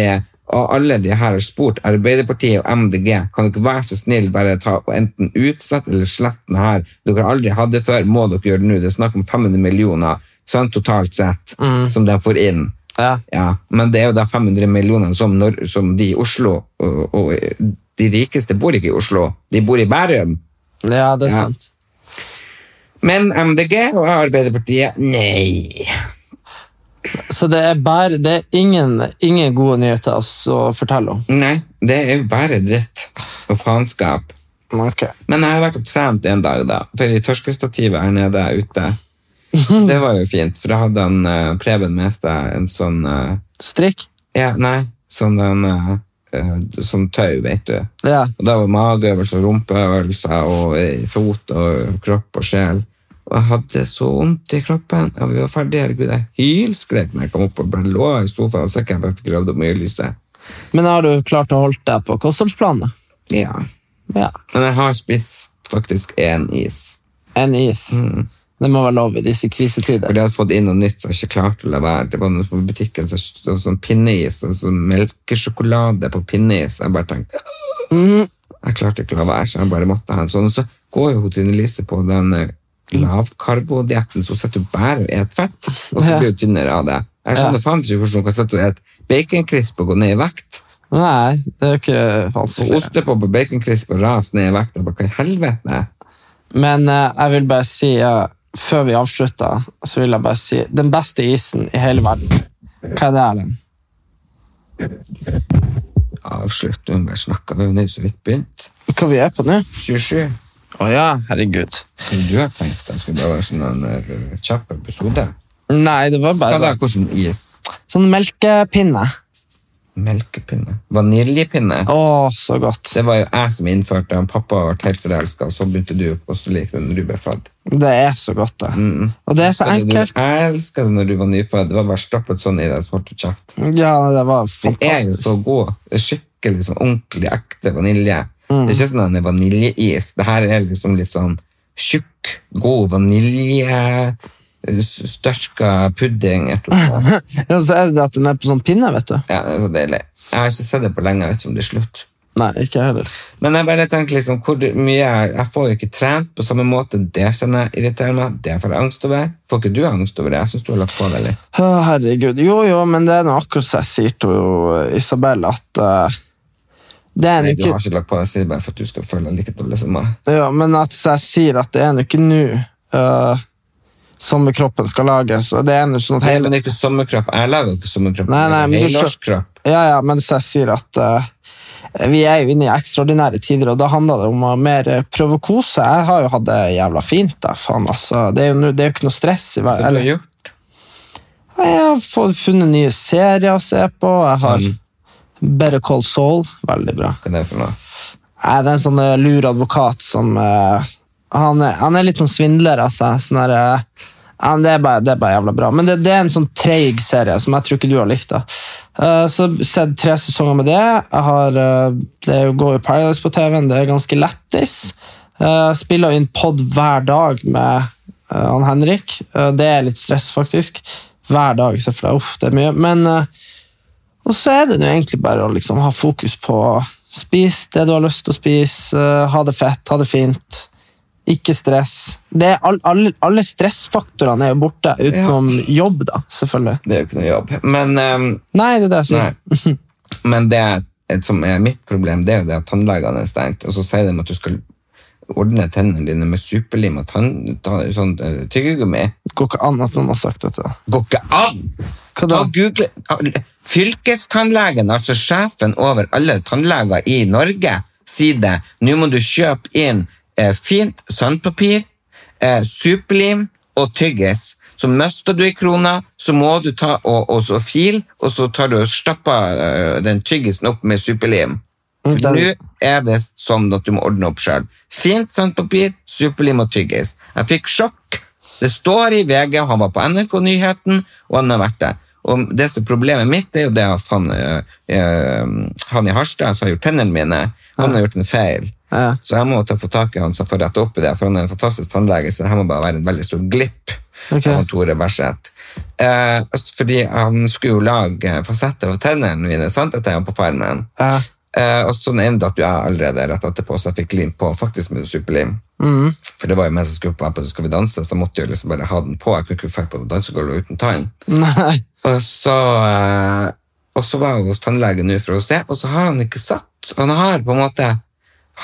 S1: og alle de her har spurt Arbeiderpartiet og MDG. Kan dere være så snill bare ta og enten utsette eller slette den her? Dere har aldri hatt det før, må dere gjøre det nå? Det er snakk om 500 millioner sånn totalt sett
S3: Mm.
S1: som de får inn.
S3: Ja.
S1: Ja, men det er jo da 500 millioner som, Nor- som de i Oslo og, og de rikeste bor ikke i Oslo, de bor i Bærum.
S3: ja, det er
S1: Ja.
S3: sant.
S1: Men MDG og Arbeiderpartiet, nei.
S3: Så det er bare Det er ingen, ingen gode nyheter altså, å fortelle om.
S1: Nei, det er jo bare dritt og faenskap.
S3: Ok.
S1: Men jeg har vært og trent en dag, da. For i tørkestativet her nede ute. Det var jo fint, for da hadde han eh, Preben med seg en sånn eh,
S3: Strikk?
S1: Ja, nei, sånn den eh, eh, Sånn tau, vet du.
S3: Ja.
S1: Og da var mageøvelser, rumpeøvelser og eh, fot og kropp og sjel. Og jeg hadde så vondt i kroppen. Og vi var ferdige. Herregud, jeg hylskrek når jeg kom opp og bare lå i sofaen og så ikke jeg bare fikk gravd opp mye lyset.
S3: Men har du klart å holde deg på kostholdsplanet?
S1: Ja.
S3: Ja.
S1: Men jeg har spist faktisk én is.
S3: En is. Det må være lov i disse krisetider.
S1: Fordi jeg hadde fått inn noe nytt som jeg ikke klarte å la være. Det var noe på butikken som så, sånn pinneis, sånn, sånn melkesjokolade på pinneis. Jeg bare tenkte Jeg klarte ikke å la være, så jeg bare måtte ha en sånn. Og så går jo hun Trine Lise på den eh, lavkarbodietten, så hun sitter jo bare og spiser fett, og så
S3: Ja.
S1: blir hun tynnere av det. Jeg skjønner faen ikke hvordan hun kan sitte og spise baconcrisp og gå ned i vekt.
S3: Nei, det er jo ikke
S1: Og
S3: vanskelig.
S1: ostepop og baconcrisp og ras ned i vekt. Jeg bare, hva i helvete?
S3: Men eh, jeg vil bare si, eh, før vi avslutter, så vil jeg bare si Den beste isen i hele verden. Hva er det, Erlend?
S1: Avslutt, hun bare snakka, hun er jo så vidt begynt.
S3: Hva vi er på nå?
S1: 27.
S3: Å ja, herregud.
S1: Men Du har tenkt at det skulle bare være sånn en eh, kjapp episode.
S3: Nei, det var
S1: Hva
S3: bare
S1: da, hvordan is?
S3: Sånn melkepinne.
S1: Melkepinne. Vaniljepinne.
S3: Å, så godt.
S1: Det var jo jeg som innførte den. Pappa har vært helt forelska, og så begynte du også å like den rubberfadd.
S3: Det er så godt, det.
S1: Mm.
S3: Og det er så enkelt.
S1: Jeg elska det når du var nyfødt. Det var bare stappet sånn i deg, så holdt du kjeft.
S3: Ja, det var
S1: Den er jo
S3: fantastisk.
S1: så god. Det er Skikkelig sånn ordentlig ekte vanilje.
S3: Mm.
S1: Det er ikke sånn at det er vaniljeis. Det her er liksom litt sånn tjukk, god vanilje, eh, størka pudding, et eller annet.
S3: Ja, så er det det at den er på sånn pinne, vet du.
S1: Ja, det er så deilig. Jeg har ikke sett det på lenge, jeg vet ikke om det er slutt.
S3: Nei, ikke jeg heller.
S1: Men jeg bare tenker liksom, hvor mye jeg, jeg får jo ikke trent på samme måte. Det kjenner jeg irriterer meg. Det får jeg angst over. Får ikke du angst over det? Jeg synes du har lagt på deg litt.
S3: Å, herregud. Jo, jo, men det er nå akkurat som jeg sier til jo Isabel, at eh, det er
S1: Nei,
S3: nå
S1: du har
S3: ikke
S1: ikke lagt på deg, jeg sier det bare for at du skal føle deg like dårlig som meg.
S3: ja, Men at jeg sier at det er nå ikke nå eh, sommerkroppen skal lages. Og det er nå sånn at
S1: Nei,
S3: hele
S1: men det er ikke sommerkropp. Jeg lager jo ikke sommerkropp.
S3: Nei, nei, men du skjø-
S1: Helårskropp.
S3: Ja, ja, mens jeg sier at eh, Vi er jo inne i ekstraordinære tider, og da handler det om å mer eh, prøve å kose. Jeg har jo hatt det jævla fint. Da, faen, altså. det, er jo, nu- det er jo ikke noe stress. i hver- eller-
S1: gjort?
S3: Jeg har fått- funnet nye serier å se på. Jeg har Better Call Saul. Veldig bra.
S1: Hva er det for noe?
S3: Nei, det er en sånn eh, lur advokat som eh, han, er, han er litt sånn svindler, altså. Sånn der, eh, han- det, er bare, det er bare jævla bra. Men det, det er en sånn treig serie som jeg tror ikke du har likt. da. Eh, så har jeg sett tre sesonger med det. Jeg har, eh, det er jo går jo Paradise på TV-en, det er ganske lættis. Eh, spiller jo inn pod hver dag med eh, han Henrik. Eh, det er litt stress, faktisk. Hver dag, selvfølgelig. Uff, det er mye. Men eh, og så er det nå egentlig bare å liksom ha fokus på spis det du har lyst til å spise, eh, ha det fett, ha det fint. Ikke stress. Det er all, all, alle stressfaktorene er jo borte, utenom jobb, da, selvfølgelig.
S1: Det er jo ikke noe jobb. Men, ehm,
S3: Nei, det er det jeg sier.
S1: nei. Men det er- som er mitt problem, det er jo det at tannlegene er stengt, og så sier de at du skal ordne tennene dine med superlim og tann, ta- sånn, eh, tyggegummi.
S3: Det går ikke an at noen har sagt dette.
S1: Går ikke an!
S3: Hva da?
S1: Da google Fylkestannlegen, altså sjefen over alle tannleger i Norge, sier det. Nå må du kjøpe inn eh, fint sandpapir, eh, superlim og tyggis. Så mister du i krona, så må du ta og, og så fil, og så tar du og stapper eh, den tyggisen opp med superlim. For
S3: Mm,
S1: Nå
S3: den-
S1: er det sånn at du må ordne opp sjøl. Fint sandpapir, superlim og tyggis. Jeg fikk sjokk. Det står i VG, og han var på NRK-nyheten, og han har vært der. Og det som er Problemet mitt det er jo det at han, eh, eh, han i Harstad som har gjort tennene mine, han har gjort en feil.
S3: Ja.
S1: Så jeg må ta få tak i han som får rette opp i det, for han er en fantastisk tannlege, så det her må bare være en veldig stor glipp.
S3: Ok.
S1: av han Tore Berseth. Eh, fordi han skulle jo lage fasetter av tennene mine, sant? Dette er jo på farmen.
S3: Ja.
S1: Eh, og så nevnte at jeg allerede rett etterpå, så jeg fikk lim på, faktisk med superlim. For det var jo meg som skulle på meg på Skal vi danse, så jeg måtte jo liksom bare ha den på. Jeg kunne ikke fære på dansegulvet uten tann.
S3: Nei.
S1: Og så, eh, og så var jeg hos tannlegen nå for å se, og så har han ikke satt. Han har på en måte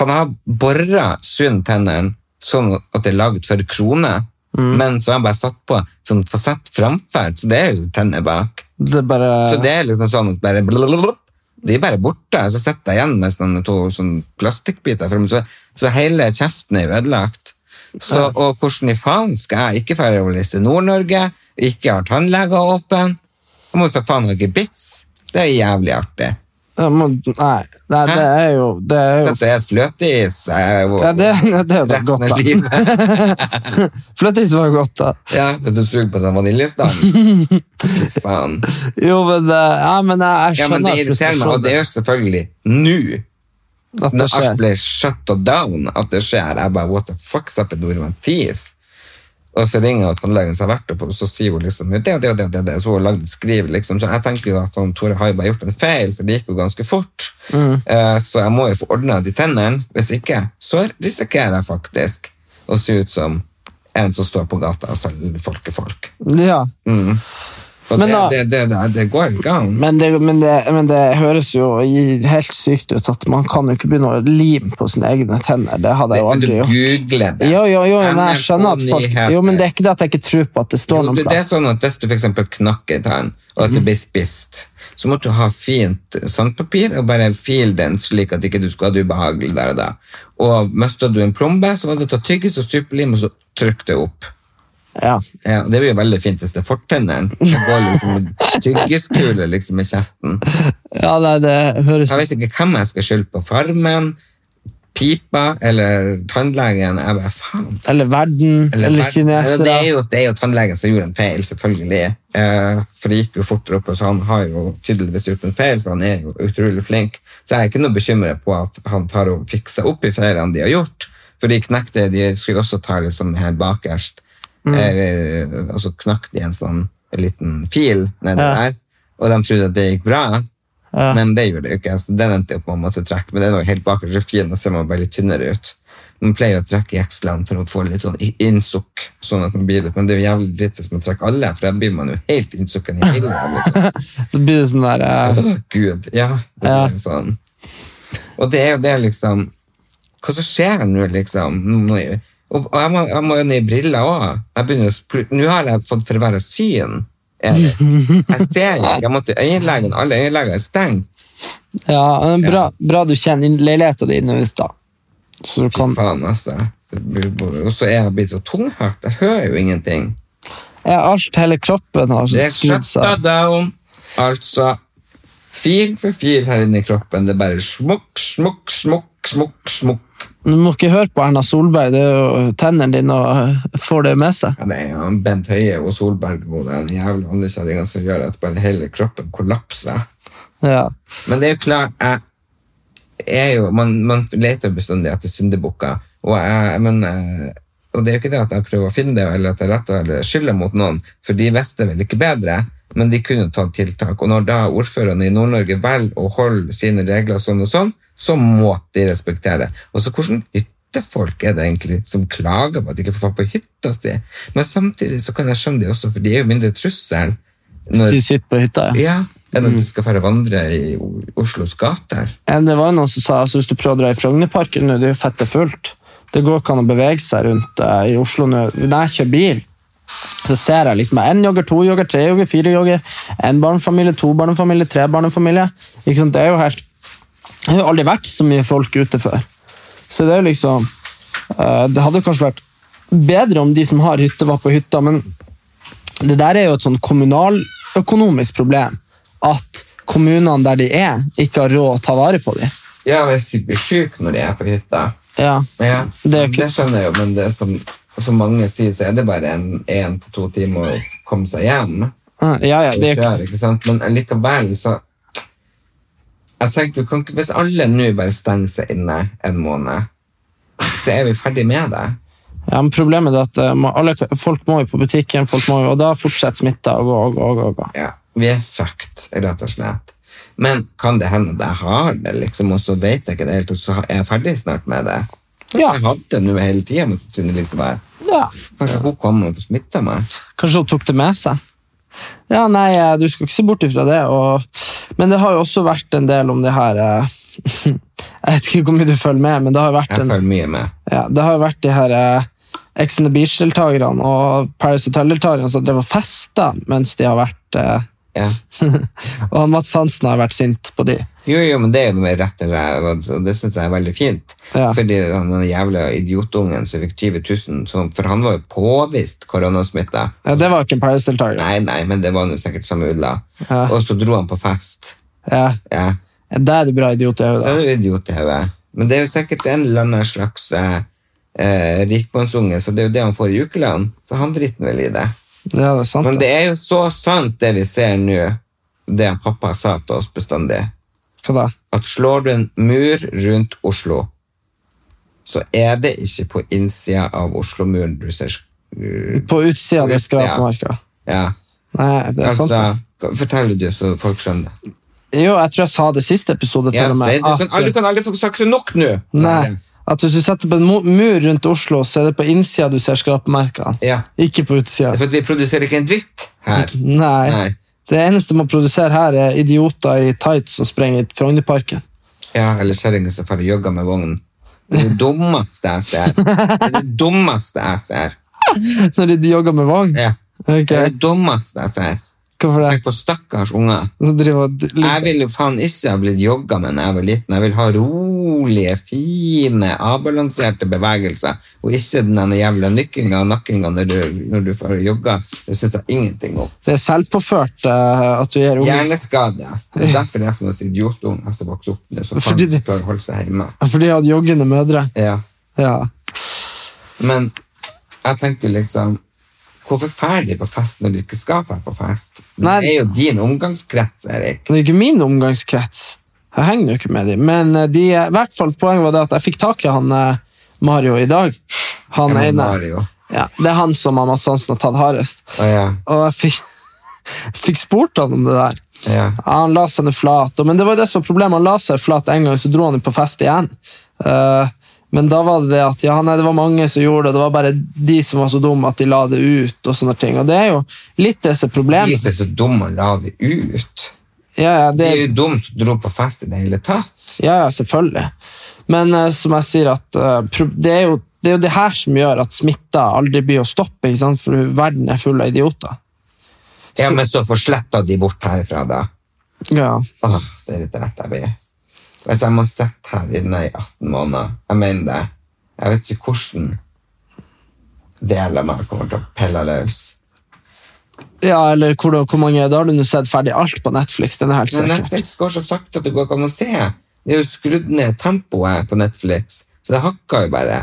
S1: han har borra sunn tennene sånn at det er laget for kroner, men så har han bare satt på sånn fasett framfor, så det er jo tenner bak.
S3: Det er bare
S1: Så det er liksom sånn at bare blablabla, De er bare borte, så sitter jeg igjen med sånne to sånn plastikkbiter. frem, Så, så hele kjeften er jo ødelagt. Så, og hvordan i faen skal jeg ikke dra over til Nord-Norge? Ikke har tannleger åpen? Så må vi for faen ha gebiss. Det er jævlig artig.
S3: Jeg må, Nei, nei det er jo Det er jo
S1: Så det er et fløteis. eh, hvor-
S3: ja, det, det er jo da
S1: resten
S3: godt,
S1: av
S3: da.
S1: livet.
S3: Fløteis var jo godt, da.
S1: Ja, at du suger på sånn vaniljestang. Fy faen.
S3: Jo, men, eh, ja, men jeg, jeg
S1: Ja, men
S3: skjønner
S1: det irriterer meg, og det er jo selvfølgelig nå.
S3: at det
S1: Når alt
S3: skjer.
S1: blir shut down, at det skjer, jeg bare, what the fuck, sa Pedro, I'm a thief. Og så ringer jeg tannlegen som har vært oppe, og så sier hun liksom, det og det og det, og det, og det. så har hun lagd et skriv, liksom. Så jeg tenker jo at han, Tore har jo bare gjort en feil, for det gikk jo ganske fort.
S3: Mm.
S1: Eh, så jeg må jo få ordnet de tennene, hvis ikke, så risikerer jeg faktisk å se ut som en som står på gata og selger folkefolk.
S3: Ja.
S1: Og
S3: Men
S1: det,
S3: da-
S1: det, det, det, det går ikke an.
S3: Men det, men, det, men det høres jo helt sykt ut at man kan jo ikke begynne å lime på sine egne tenner. Det hadde jeg jo
S1: Men du
S3: aldri gjort.
S1: googler det.
S3: Jo, jo, jo, men jeg
S1: NRK
S3: skjønner at folk
S1: nyheter.
S3: Jo, men det er ikke det at jeg ikke tror på at det står
S1: Jo,
S3: noen
S1: det, det er
S3: plass.
S1: sånn at Hvis du for eksempel knakk en tann, og at det blir spist, så måtte du ha fint sandpapir og bare file den slik at ikke du skulle ha det ubehagelig der og da. Og mistet du en plombe, så var det å ta tyggis og superlim og så trykke det opp.
S3: Ja.
S1: Ja, det blir jo veldig fint hvis det er fortennene. Det går liksom en tyggeskule liksom i kjeften.
S3: ja, nei, det høres
S1: Jeg vet ikke hvem jeg skal skylde på. Farmen, pipa eller tannlegen. Jeg bare, faen.
S3: Eller verden, eller,
S1: verden. Det
S3: kinesere.
S1: er, jo, det er jo tannlegen som gjorde en feil, selvfølgelig. Eh, for det gikk jo fortere opp, så han har jo tydeligvis gjort en feil, for han er jo utrolig flink. Så jeg er ikke noe bekymret på at han tar og fikser opp i feilene de har gjort. For de knekte, de skulle også ta liksom her bakerst, eh, og så knakk de en sånn liten fil nedi der, og de trodde at det gikk bra. Men det gjorde det jo ikke. så Den endte jo på en måte trekk, men den var jo helt bakerst så fin, og ser man bare litt tynnere ut. Man pleier jo å trekke jekslene for å få litt sånn i- innsukk, sånn at man blir litt, men det er jo jævlig dritt hvis man trekker alle, for da blir man jo helt innsukken i hele. Liksom.
S3: Det blir sånn der eh,
S1: Åh, Gud, ja. Det
S3: Ja.
S1: blir jo sånn. Og det er jo det liksom, hva som skjer nå liksom? Nå må jeg- Og og jeg må, jeg må jo ned i briller også. Jeg begynner å spl- Nå har jeg fått forverret syn. Erik. Jeg ser jo, ikke. jeg måtte øyeleggen, alle øyeleger er stengt.
S3: Ja, men bra, bra du kjenner inn- leiligheten din nå, da. Så du kan
S1: Fy faen, altså. Det blir bare- Og så er jeg blitt så tunghørt. Jeg hører jo ingenting.
S3: Er alt, hele kroppen har sånn
S1: Det er
S3: skrudd
S1: shutta
S3: seg.
S1: down. Altså Fil for fil her inne i kroppen. Det er bare smukk, smukk, smukk, smukk. smukk.
S3: Du må ikke høre på Erna Solberg, det er jo tennene dine og øh, får det med seg.
S1: Ja, det er jo han Bent Høie og Solberg og den jævla andrekjerringa som gjør at bare hele kroppen kollapser.
S3: Ja.
S1: Men det er jo klart jeg er jo, man, man leter jo bestandig etter syndebukker. Og, jeg, men, eh, og det er jo ikke det at jeg prøver å finne det, eller at jeg retter eller skylder mot noen, for de visste vel ikke bedre. Men de kunne tatt tiltak. Og når da ordførerne i Nord-Norge velger å holde sine regler sånn og sånn, så må de respektere. Og så hvordan hyttefolk er det egentlig som klager på at de ikke får fatt på hytta si? Men samtidig så kan jeg skjønne de også, for de er jo mindre trussel.
S3: Så
S1: når-
S3: de sitter på hytta, ja.
S1: ja, enn at du skal fære vandre i O- Oslos gater.
S3: Eh, Men Det var jo noen som sa altså, hvis du prøver å dra i Frognerparken nå, det er jo fette fullt. Det går ikke an å bevege seg rundt eh, i Oslo nå. Når jeg kjører bil, så ser jeg liksom en jogger, to jogger, tre jogger, fire jogger, en barnefamilie, to barnefamilie, tre barnefamilie. Ikke sant? Det er jo helt Det har jo aldri vært så mye folk ute før. Så det er jo liksom eh, Det hadde jo kanskje vært bedre om de som har hytte, var på hytta, men det der er jo et sånn kommunaløkonomisk problem. At kommunene der de er, ikke har råd å ta vare på dem.
S1: Ja, hvis de blir syke når de er på hytta.
S3: Ja.
S1: Ja,
S3: Det er jo ikke-
S1: det skjønner jeg jo, men det er som for mange sier, så er det bare en, en til to timer å komme seg hjem.
S3: Ja, ja,
S1: og
S3: det er jo
S1: kjøre, ikke sant? Men likevel så jeg tenker, du kan ikke, Hvis alle nå bare stenger seg inne en måned, så er vi ferdig med det.
S3: ikke- ja, men problemet er at eh, må- alle, folk må jo på butikken, folk må jo, og da fortsetter smitta å gå og gå. Og gå, og gå.
S1: Ja, vi er fucked, rett og slett. Men kan det hende at jeg har det, liksom, og så vet jeg ikke det helt, og så er jeg ferdig snart med det? Kanskje
S3: Ja.
S1: jeg hadde det nå hele tida, men så kunne det liksom være
S3: Ja.
S1: Kanskje hun kom og smitta meg?
S3: Kanskje hun tok det med seg. Ja, nei, eh, du skal ikke se bort ifra det. Og, men det har jo også vært en del om det her eh, Jeg vet ikke hvor mye du følger med, men det har jo vært
S1: Jeg
S3: en
S1: følger mye med.
S3: Ja, det har jo vært de her eh, Ex on the Beach-deltakerne og Paris Hotel-deltakerne som drev og festa mens de har vært eh,
S1: Ja.
S3: Og han Mats Hansen har vært sint på de.
S1: Jo, jo, men det er jo rett til deg, og det syns jeg er veldig fint.
S3: Ja.
S1: Fordi han den jævla idiotungen som fikk 20 000, som- for han var jo påvist koronasmitta.
S3: Ja, det var ikke en Paris-deltaker.
S1: Nei, nei, men det var nå sikkert samme ulla.
S3: Ja.
S1: Og så dro han på fest.
S3: Ja,
S1: Ja.
S3: det er du bra idiot i
S1: Da
S3: hodet.
S1: er du idiot i hodet. Men det er jo sikkert en eller annen slags eh, eh, rikmannsunge, så det er jo det han får i ukelønn. Så han driter vel i det.
S3: Ja, det er sant.
S1: Men
S3: det.
S1: det er jo så sant, det vi ser nå, det han pappa sa til oss bestandig,
S3: Hva da?
S1: at slår du en mur rundt Oslo, så er det ikke på innsida av Oslo-muren du ser sk-
S3: På utsida av det skrapmarka.
S1: Ja.
S3: Nei, det er
S1: Altså,
S3: sant. det.
S1: forteller du så folk skjønner.
S3: Jo, jeg tror jeg sa det i siste episode til
S1: Ja,
S3: og
S1: si
S3: med.
S1: det. du, kan, aldri- du
S3: At, eh,
S1: kan aldri få sagt det nok nå!
S3: nei, at hvis du setter på en mo- mur rundt Oslo, så er det på innsida du ser skrapmerkene.
S1: Ja.
S3: Ikke på utsida.
S1: For at vi produserer ikke en dritt her.
S3: Nei.
S1: Nei.
S3: Det eneste man produserer her, er idioter i tights som sprenger i Frognerparken.
S1: Ja, eller kjerringa som drar og jogger med vognen. Det er det dummeste jeg ser. Det er det dummeste jeg ser.
S3: Når de jogger med vogn.
S1: Ja.
S3: Ok,
S1: Det er det dummeste jeg ser.
S3: Hvorfor det?
S1: Tenk på stakkars unger.
S3: Så driver og d-
S1: Jeg vil jo faen ikke ha blitt jogga med da jeg var liten. Jeg vil ha rolige, fine, avbalanserte bevegelser, og ikke den der jævla nykkinga og nakkinga når du, når du får jogga. Det syns jeg ingenting om.
S3: Det er selvpåført eh, at du gir unge
S1: Hjerneskade. Det er derfor det er som en idiotunge som vokser opp nå, som
S3: Fordi
S1: faen
S3: det-
S1: ikke klarer å holde seg hjemme.
S3: For de hadde joggende mødre.
S1: Ja.
S3: Ja.
S1: Men jeg tenker liksom Hvorfor drar de på fest når de ikke skal dra på fest? Det
S3: Nei.
S1: er jo din omgangskrets, Erik.
S3: Det er ikke min omgangskrets. Jeg henger jo ikke med dem. Men eh, de, i hvert fall poenget var det at jeg fikk tak i han eh, Mario i dag. Han
S1: Ja, men
S3: ene.
S1: Mario.
S3: Ja, det er han som han Mads Hansen har tatt hardest.
S1: Å, ja.
S3: Og jeg fikk, fikk spurt han om det der.
S1: Ja.
S3: Ja, han la seg ned flat, og- men det var jo det som var problemet. Han la seg flat en gang, så dro han jo på fest igjen. Eh, men da var det det at ja, nei, det var mange som gjorde det, og det var bare de som var så dumme at de la det ut. Og sånne ting. Og det er jo litt det som er
S1: De
S3: problemet.
S1: som er så dumme og la det ut.
S3: Ja, ja,
S1: Det er
S3: det,
S1: jo dumt som dro på fest i det hele tatt.
S3: ja, ja selvfølgelig. Men eh, som jeg sier, at eh, pro det, er jo, det er jo det her som gjør at smitta aldri blir å stoppe, ikke sant? for verden er full av idioter.
S1: Ja,
S3: Så-
S1: men så forsletta de bort herfra, da.
S3: Ja.
S1: Åh, så irritert jeg blir. Hvis jeg må sitte her inne i 18 måneder, jeg mener det, jeg vet ikke hvordan del av meg kommer til å pelle løs.
S3: ja, eller hvor, hvor mange Da har du nå sett ferdig alt på Netflix. Den er helt
S1: Men
S3: sikker.
S1: Netflix går så sakte at det går ikke an å se. Det er jo skrudd ned tempoet på Netflix, så det hakker jo bare.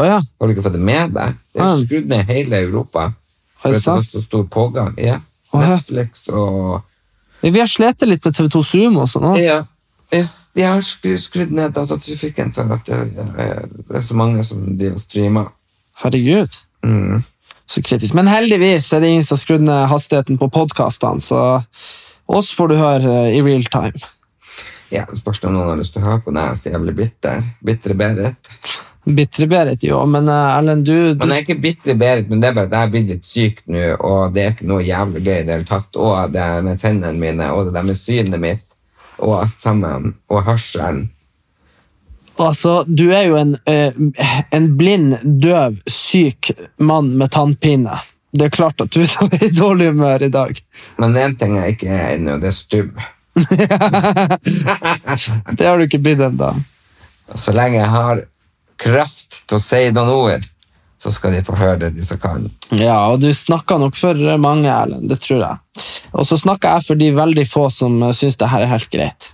S3: Å ja.
S1: Har du ikke fått det med deg? Det er
S3: Ja.
S1: skrudd ned i hele Europa.
S3: Er
S1: For
S3: det
S1: at det var
S3: sant?
S1: så stor pågang. Ja.
S3: Å, ja.
S1: Netflix og
S3: Vi har slitt litt med TV2 Sumo sånn også nå.
S1: Ja. Jeg s- jeg har skru- skrudd ned datatrafikken for at det, det er så mange som driver og streamer.
S3: Herregud.
S1: Mm.
S3: Så kritisk. Men heldigvis er det ingen som har skrudd ned hastigheten på podkastene, så oss får du høre eh, i real time.
S1: Ja, det spørs om noen har lyst til å høre på det. Jeg er så jævlig bitter. Bitre Berit.
S3: Bitre-Berit, jo, men eh, Erlend, du, du
S1: Men jeg er ikke bitre Berit, men det er bare at jeg har blitt litt syk nå, og det er ikke noe jævlig gøy i det hele tatt. Og det er med tennene mine, og det der med synet mitt, og alt sammen. Og hørselen.
S3: Altså, du er jo en, eh, en blind, døv, syk mann med tannpine. Det er klart at du er i dårlig humør i dag.
S1: Men én ting jeg ikke er ennå, det er stum.
S3: Det har du ikke blitt ennå.
S1: Så lenge jeg har kraft til å si noen ord, så skal de få høre det, de som kan.
S3: Ja, og du snakker nok for mange, Erlend. Det tror jeg. Og så snakker jeg for de veldig få som eh, syns det her er helt greit.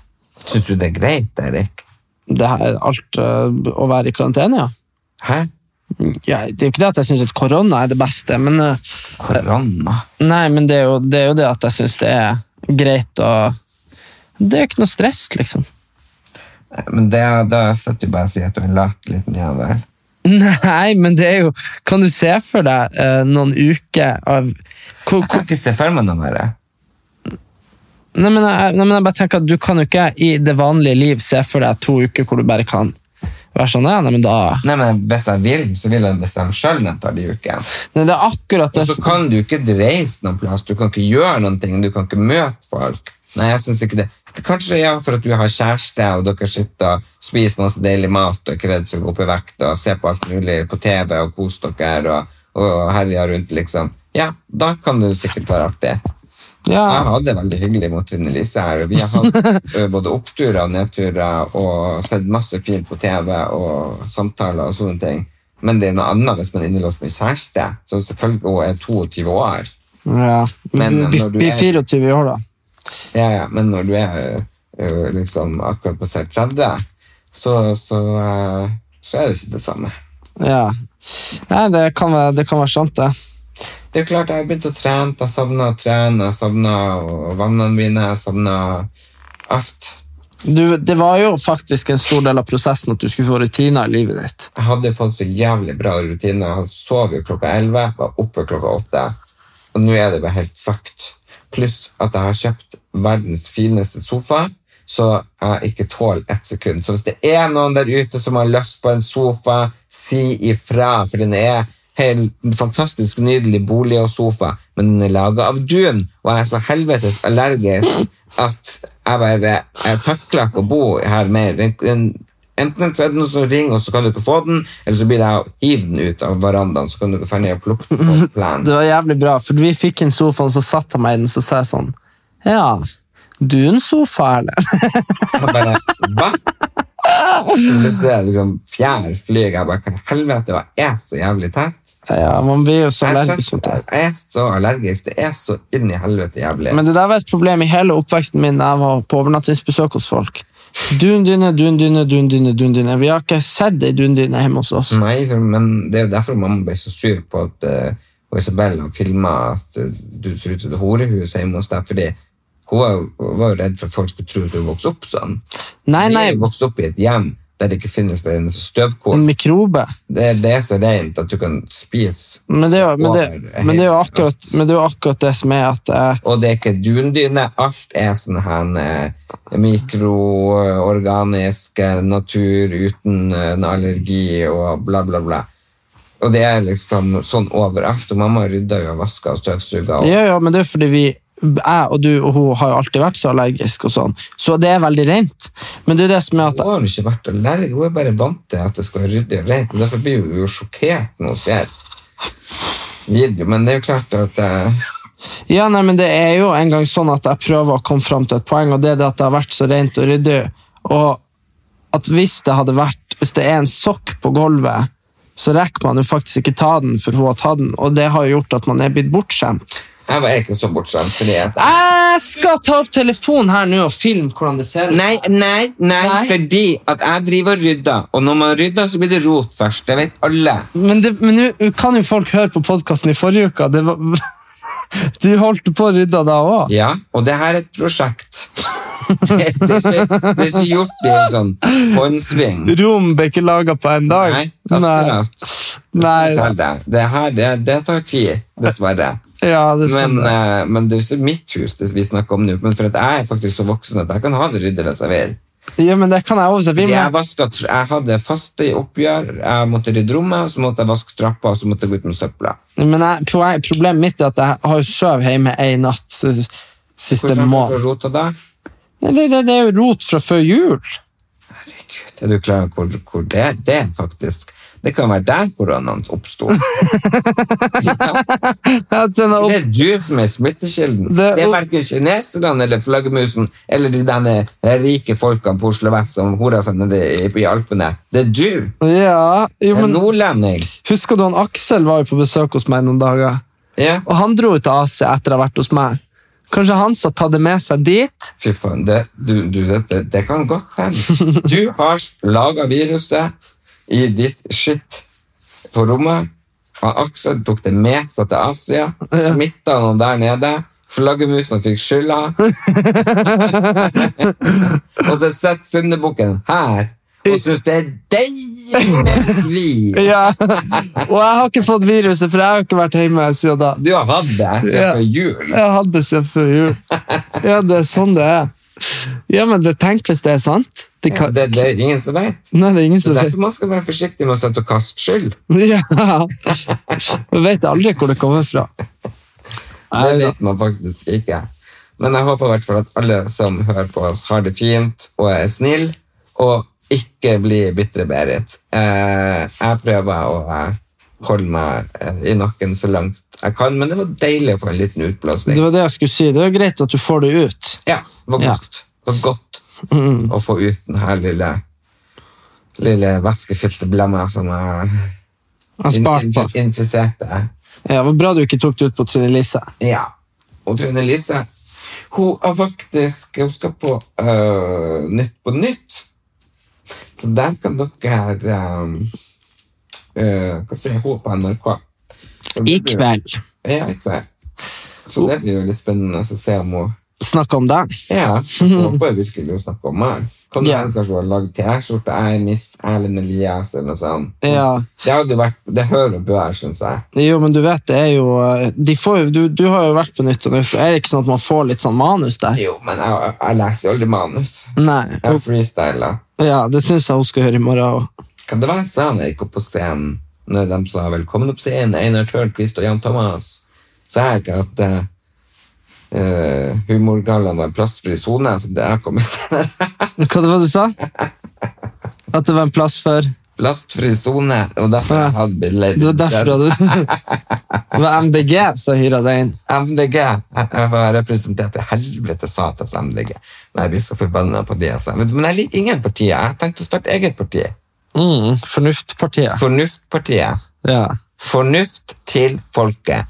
S1: Syns du det er greit, Erik?
S3: Det her er alt eh, å være i karantene, ja.
S1: Hæ?
S3: ja. Det er jo ikke det at jeg syns at korona er det beste, men eh,
S1: Korona?
S3: Nei, men det er jo det, er jo det at jeg syns det er greit å Det er jo ikke noe stress, liksom.
S1: Men det, da sitter du bare og sier at du er en lat liten jævel.
S3: Nei, men det er jo Kan du se for deg eh, noen uker av
S1: Jeg
S3: hvor, hvor,
S1: kan ikke se for meg noe mer.
S3: nei, men jeg, nei, men jeg bare tenker at du kan jo ikke i det vanlige liv se for deg to uker hvor du bare kan være sånn ja, Nei, men da
S1: Nei, men hvis jeg vil, så vil jeg bestemme sjøl når jeg tar de ukene.
S3: Nei, det er akkurat
S1: Og
S3: det
S1: så kan du ikke reise noen plass, du kan ikke gjøre noen ting, du kan ikke møte folk. Nei, jeg synes ikke det. Kanskje ja, for at du har kjæreste, og dere sitter og spiser masse deilig mat, og er ikke redd for å gå opp i vekt, og ser på alt mulig på TV, og koser dere, og, og herjer rundt, liksom. Ja, da kan det jo sikkert være artig. Jeg
S3: Ja,
S1: hadde det veldig hyggelig mot Trine Lise her, og vi har hatt ø, både oppturer og nedturer, og sett masse fint på TV, og samtaler og sånne ting. Men det er noe annet hvis man er innelåst med kjæreste, som selvfølgelig også er 22 år.
S3: ja.
S1: Men når
S3: Blir
S1: du
S3: blir
S1: er-
S3: 24 år, da.
S1: Ja, ja, men når du er ø, ø, liksom akkurat på 30, så, så, ø, så er det ikke det samme.
S3: Ja. Nei, det kan være, det kan være sant, det.
S1: Det er klart, jeg har begynt å trene, jeg savner å trene, jeg savner ø, vannene mine, jeg savner alt.
S3: Du, det var jo faktisk en stor del av prosessen at du skulle få rutiner i livet ditt.
S1: Jeg hadde fått så jævlig bra rutiner. Jeg hadde sovet klokka 11, var oppe klokka 8. Og nå er det bare helt fucked. Pluss at jeg har kjøpt verdens fineste sofa, så jeg ikke tåler ett sekund. Så hvis det er noen der ute som har lyst på en sofa, si ifra, for den er helt en fantastisk nydelig bolig og sofa, men den er laget av dun, og jeg er så helvetes allergisk at jeg bare jeg takler ikke å bo her mer. Den- den- Enten så er det noen som ringer, og så kan du ikke få den, eller så blir det å hive den ut av verandaen, så kan du ikke få ned og plukke den på plan.
S3: Det var jævlig bra, for vi fikk inn sofaen, så satt han meg i den, så sa jeg sånn Ja, du er en sofa, eller?
S1: Og bare, hva? Så plutselig er det liksom fjær flyg, jeg bare, hva i helvete, jeg er så jævlig tett.
S3: Ja, man blir jo så
S1: Jeg er
S3: allergisk
S1: så,
S3: mot det.
S1: jeg er så allergisk, det er så inn i helvete jævlig.
S3: Men det der var et problem i hele oppveksten min da jeg var på overnattingsbesøk hos folk. Dundyne, dundyne, dundyne, dundyne. Vi har ikke sett ei dundyne hjemme hos oss.
S1: Nei, for- men det er jo derfor mamma ble så sur på at eh, og Isabella filmet at eh, du ser ut til det horehuset hjemme hos deg, fordi hun var, jo- var jo redd for at folk skulle tro at du vokste opp sånn.
S3: Nei,
S1: Vi
S3: nei,
S1: er jo vokst opp i et hjem der det ikke finnes det eneste
S3: en
S1: støvkorn.
S3: mikrobe.
S1: Det, det er så rent at du kan spise,
S3: Men det er jo, men det, men det er jo, akkurat, men det, er jo akkurat det som er at eh,
S1: og det er ikke dundyne. Alt er sånn her eh, mikroorganisk eh, natur uten eh, en allergi og bla, bla, bla. Og det er liksom sånn overalt. Og mamma rydder jo og vasker og støvsuger. Og,
S3: Ja, ja, men det er fordi vi jeg og du og hun har jo alltid vært så allergisk og sånn, så det er veldig rent. Men det er det som er at
S1: hun har jo ikke vært allergisk, hun er bare vant til at det skal være ryddig og rent. og Derfor blir hun jo sjokkert når hun ser video. Men det er jo klart at eh,
S3: Ja, nei, men Det er jo en gang sånn at jeg prøver å komme fram til et poeng, og det er det at det har vært så rent og ryddig. Og at hvis det hadde vært Hvis det er en sokk på gulvet, så rekker man jo faktisk ikke ta den for hun har tatt den, og det har jo gjort at man er blitt bortskjemt.
S1: Jeg var ikke så bortskjemt. fordi jeg-
S3: Jeg skal ta opp telefonen her nå og filme hvordan det ser ut.
S1: Nei, nei, nei,
S3: Nei.
S1: fordi at jeg driver og rydder, og når man rydder, så blir det rot først. Det vet alle.
S3: Men det- men nå kan jo folk høre på podkasten i forrige uke. Det var, du holdt på å rydde da òg.
S1: Ja, og det her er et prosjekt. Det, det, er, ikke, det er ikke gjort i en sånn håndsving.
S3: Rom ble ikke laga på en dag.
S1: Nei,
S3: Nei.
S1: akkurat.
S3: Nei.
S1: Fortell deg. Det her, det, det tar tid, dessverre.
S3: Ja, det er sånn.
S1: Men, eh, men det er jo ikke mitt hus det vi snakker om nå, men for at jeg er faktisk så voksen at jeg kan ha det ryddig hvis jeg vil.
S3: ja, men det kan jeg også. Vi
S1: Fordi Jeg,
S3: må,
S1: vasket, jeg hadde faste oppgjør, jeg måtte rydde rommet, og så måtte jeg vaske trappa, og så måtte jeg gå ut med søpla.
S3: men jeg, poe- problemet mitt er at jeg har jo sovet hjemme ei natt s- siste
S1: Hvordan har du
S3: måned.
S1: rota da?
S3: Nei, Det, det, det er jo rot fra før jul.
S1: Herregud, er du klar over hvor, hvor det, det er faktisk? Det kan være der koronaen oppsto.
S3: At den
S1: Det
S3: har opp,
S1: er du som er smittekilden. Det,
S3: Det-
S1: er verken kineserne eller flaggermusen eller de denne rike folkene på Oslo Vest som horer seg nede i, i Alpene. Det er du!
S3: ja, jo,
S1: En
S3: men
S1: nordlending.
S3: Husker du han Aksel var jo på besøk hos meg noen dager?
S1: Ja.
S3: Og han dro ut av Asia etter å ha vært hos meg. Kanskje han som tatt det med seg dit?
S1: Fy faen, det, du, du, det, det kan godt hende. Du har laga viruset i ditt skitt på rommet. Han Aksel tok det med seg til Asia, smitta noen der nede. Flaggermusene fikk skylda. og så sitter syndebukken her og syns det er deilig med fri.
S3: Ja. Og jeg har ikke fått viruset, for jeg har jo ikke vært hjemme siden da.
S1: Du har hatt det siden
S3: Ja.
S1: før jul.
S3: Jeg hadde siden før jul. Ja, det er sånn det er. Ja, men det tenk hvis det er sant. Det kan,
S1: Det, det er ingen som vet.
S3: Nei, det er ingen
S1: Det er
S3: som sier
S1: derfor man skal være forsiktig med å sette og kaste skyld.
S3: Ja. Du vet aldri hvor det kommer fra.
S1: Det
S3: Nei da.
S1: vet man faktisk ikke. Men jeg håper i hvert fall at alle som hører på oss, har det fint og er snill, og ikke blir bitre Berit. Eh, jeg prøver å eh, holde meg eh, i nakken så langt jeg kan, men det var deilig å få en liten
S3: Det
S1: utblåsning.
S3: var det jeg skulle si. Det er jo greit at du får det ut.
S1: Ja, det var
S3: Ja. Mm.
S1: godt. Det var godt å få ut den her lille, lille væskefylte blemma som jeg
S3: Jeg
S1: in,
S3: spart på.
S1: in, infiserte.
S3: Ja, det var bra du ikke tok det ut på Trine Lise.
S1: Ja. Og Trine Lise, hun er faktisk Hun skal på øh, Nytt på Nytt. Så der kan dere um, øh, Hva sier hun på NRK? Så det
S3: I
S1: blir-
S3: kveld.
S1: Ja, i kveld. Så det blir jo litt spennende å se om hun
S3: Snakk om deg.
S1: Ja, jeg håper virkelig hun snakker om meg. Kan det
S3: Ja.
S1: hende kanskje hun har lagd T-skjorte? Jeg er Miss Erlend Elias, eller noe sånt.
S3: Ja.
S1: Det hadde jo vært Det hører og bør, syns jeg.
S3: Jo, men du vet, det er jo eh, de får, jo- du, du har jo vært på nytt, og nå er det ikke sånn at man får litt sånn manus der?
S1: Jo, men jeg, jeg, jeg leser jo aldri manus.
S3: Nei.
S1: Jeg freestyler.
S3: og- Ja, det syns jeg hun skal gjøre i morgen òg.
S1: Kan det være sånn jeg gikk opp på scenen når de sa 'velkommen opp scenen', Einar Tørnquist og Jan Thomas? Sa jeg ikke at uh, humorgallaen var en plastfri sone? Så det jeg kom med
S3: Hva det var du sa? At det var en plass for
S1: Plastfri sone, og derfor jeg hadde bilder.
S3: Det var derfor du Det var MDG som hyra deg inn.
S1: MDG. Jeg jeg var representert i helvete satans MDG. Nei, jeg blir så forbanna på de. Altså. Men men jeg liker ingen partier. Jeg tenkte å starte eget parti.
S3: Mm, Fornuftpartiet.
S1: Fornuftpartiet.
S3: Ja.
S1: Fornuft til folket.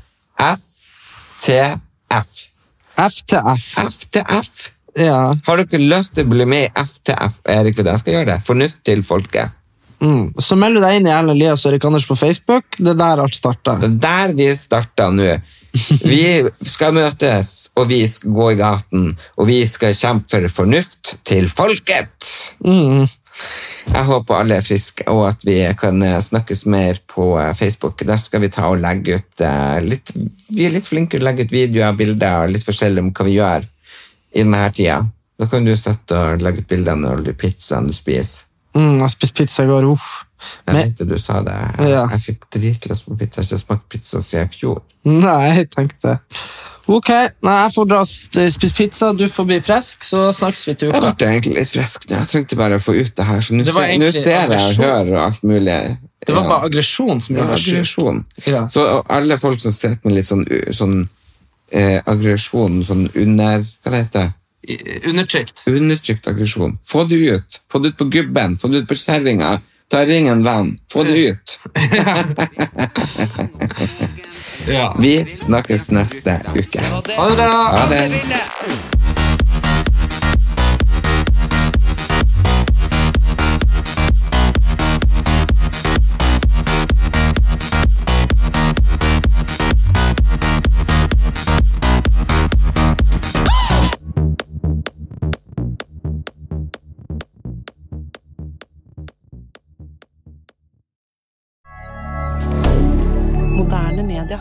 S1: FTF.
S3: FTF.
S1: FTF.
S3: Ja.
S1: Har dere lyst til å bli med i FTF? Erik, det er jeg skal gjøre det. Fornuft til folket.
S3: Mm. Så melder du deg inn i Erlend Elias og Erik Anders på Facebook. Det er der alt starta.
S1: Det er der vi starter nå. Vi skal møtes, og vi skal gå i gaten, og vi skal kjempe for fornuft til folket. Jeg håper alle er friske, og at vi kan eh, snakkes mer på eh, Facebook. Der skal vi ta og legge ut eh, litt Vi er litt flinkere til å legge ut videoer, bilder og litt forskjellig om hva vi gjør i denne tida. Da kan du sitte og legge ut bildene og pizzaen du spiser.
S3: Mm, jeg spiste pizza i går. Uff.
S1: Jeg vet det du sa det. Jeg,
S3: Ja.
S1: jeg fikk dritlyst på pizza. Jeg har ikke smakt pizza siden i fjor.
S3: Nei, jeg tenkte Ok, nei, jeg får dra og sp- spise pizza, du får bli frisk, så snakkes vi til
S1: Jeg
S3: uka.
S1: ble egentlig litt frisk nå. Jeg trengte bare å få ut det her. Så nå
S3: Det var
S1: ser, nå
S3: egentlig
S1: ser jeg og
S3: aggresjon.
S1: hører og alt mulig.
S3: Det var
S1: Ja.
S3: bare aggresjon som
S1: Ja,
S3: gjorde meg syk.
S1: aggresjon.
S3: Ja.
S1: Så og alle folk som sitter med litt sånn, u- sånn eh, aggresjon, sånn under Hva det heter
S3: I- Undertrykt.
S1: Undertrykt aggresjon. Få det ut. Få det ut på gubben. Få det ut på kjerringa. Ta ring en venn. Få det ut.
S3: Ja.
S1: Vi snakkes neste uke.
S3: Ha det bra!
S1: Ha det.
S4: Moderne media.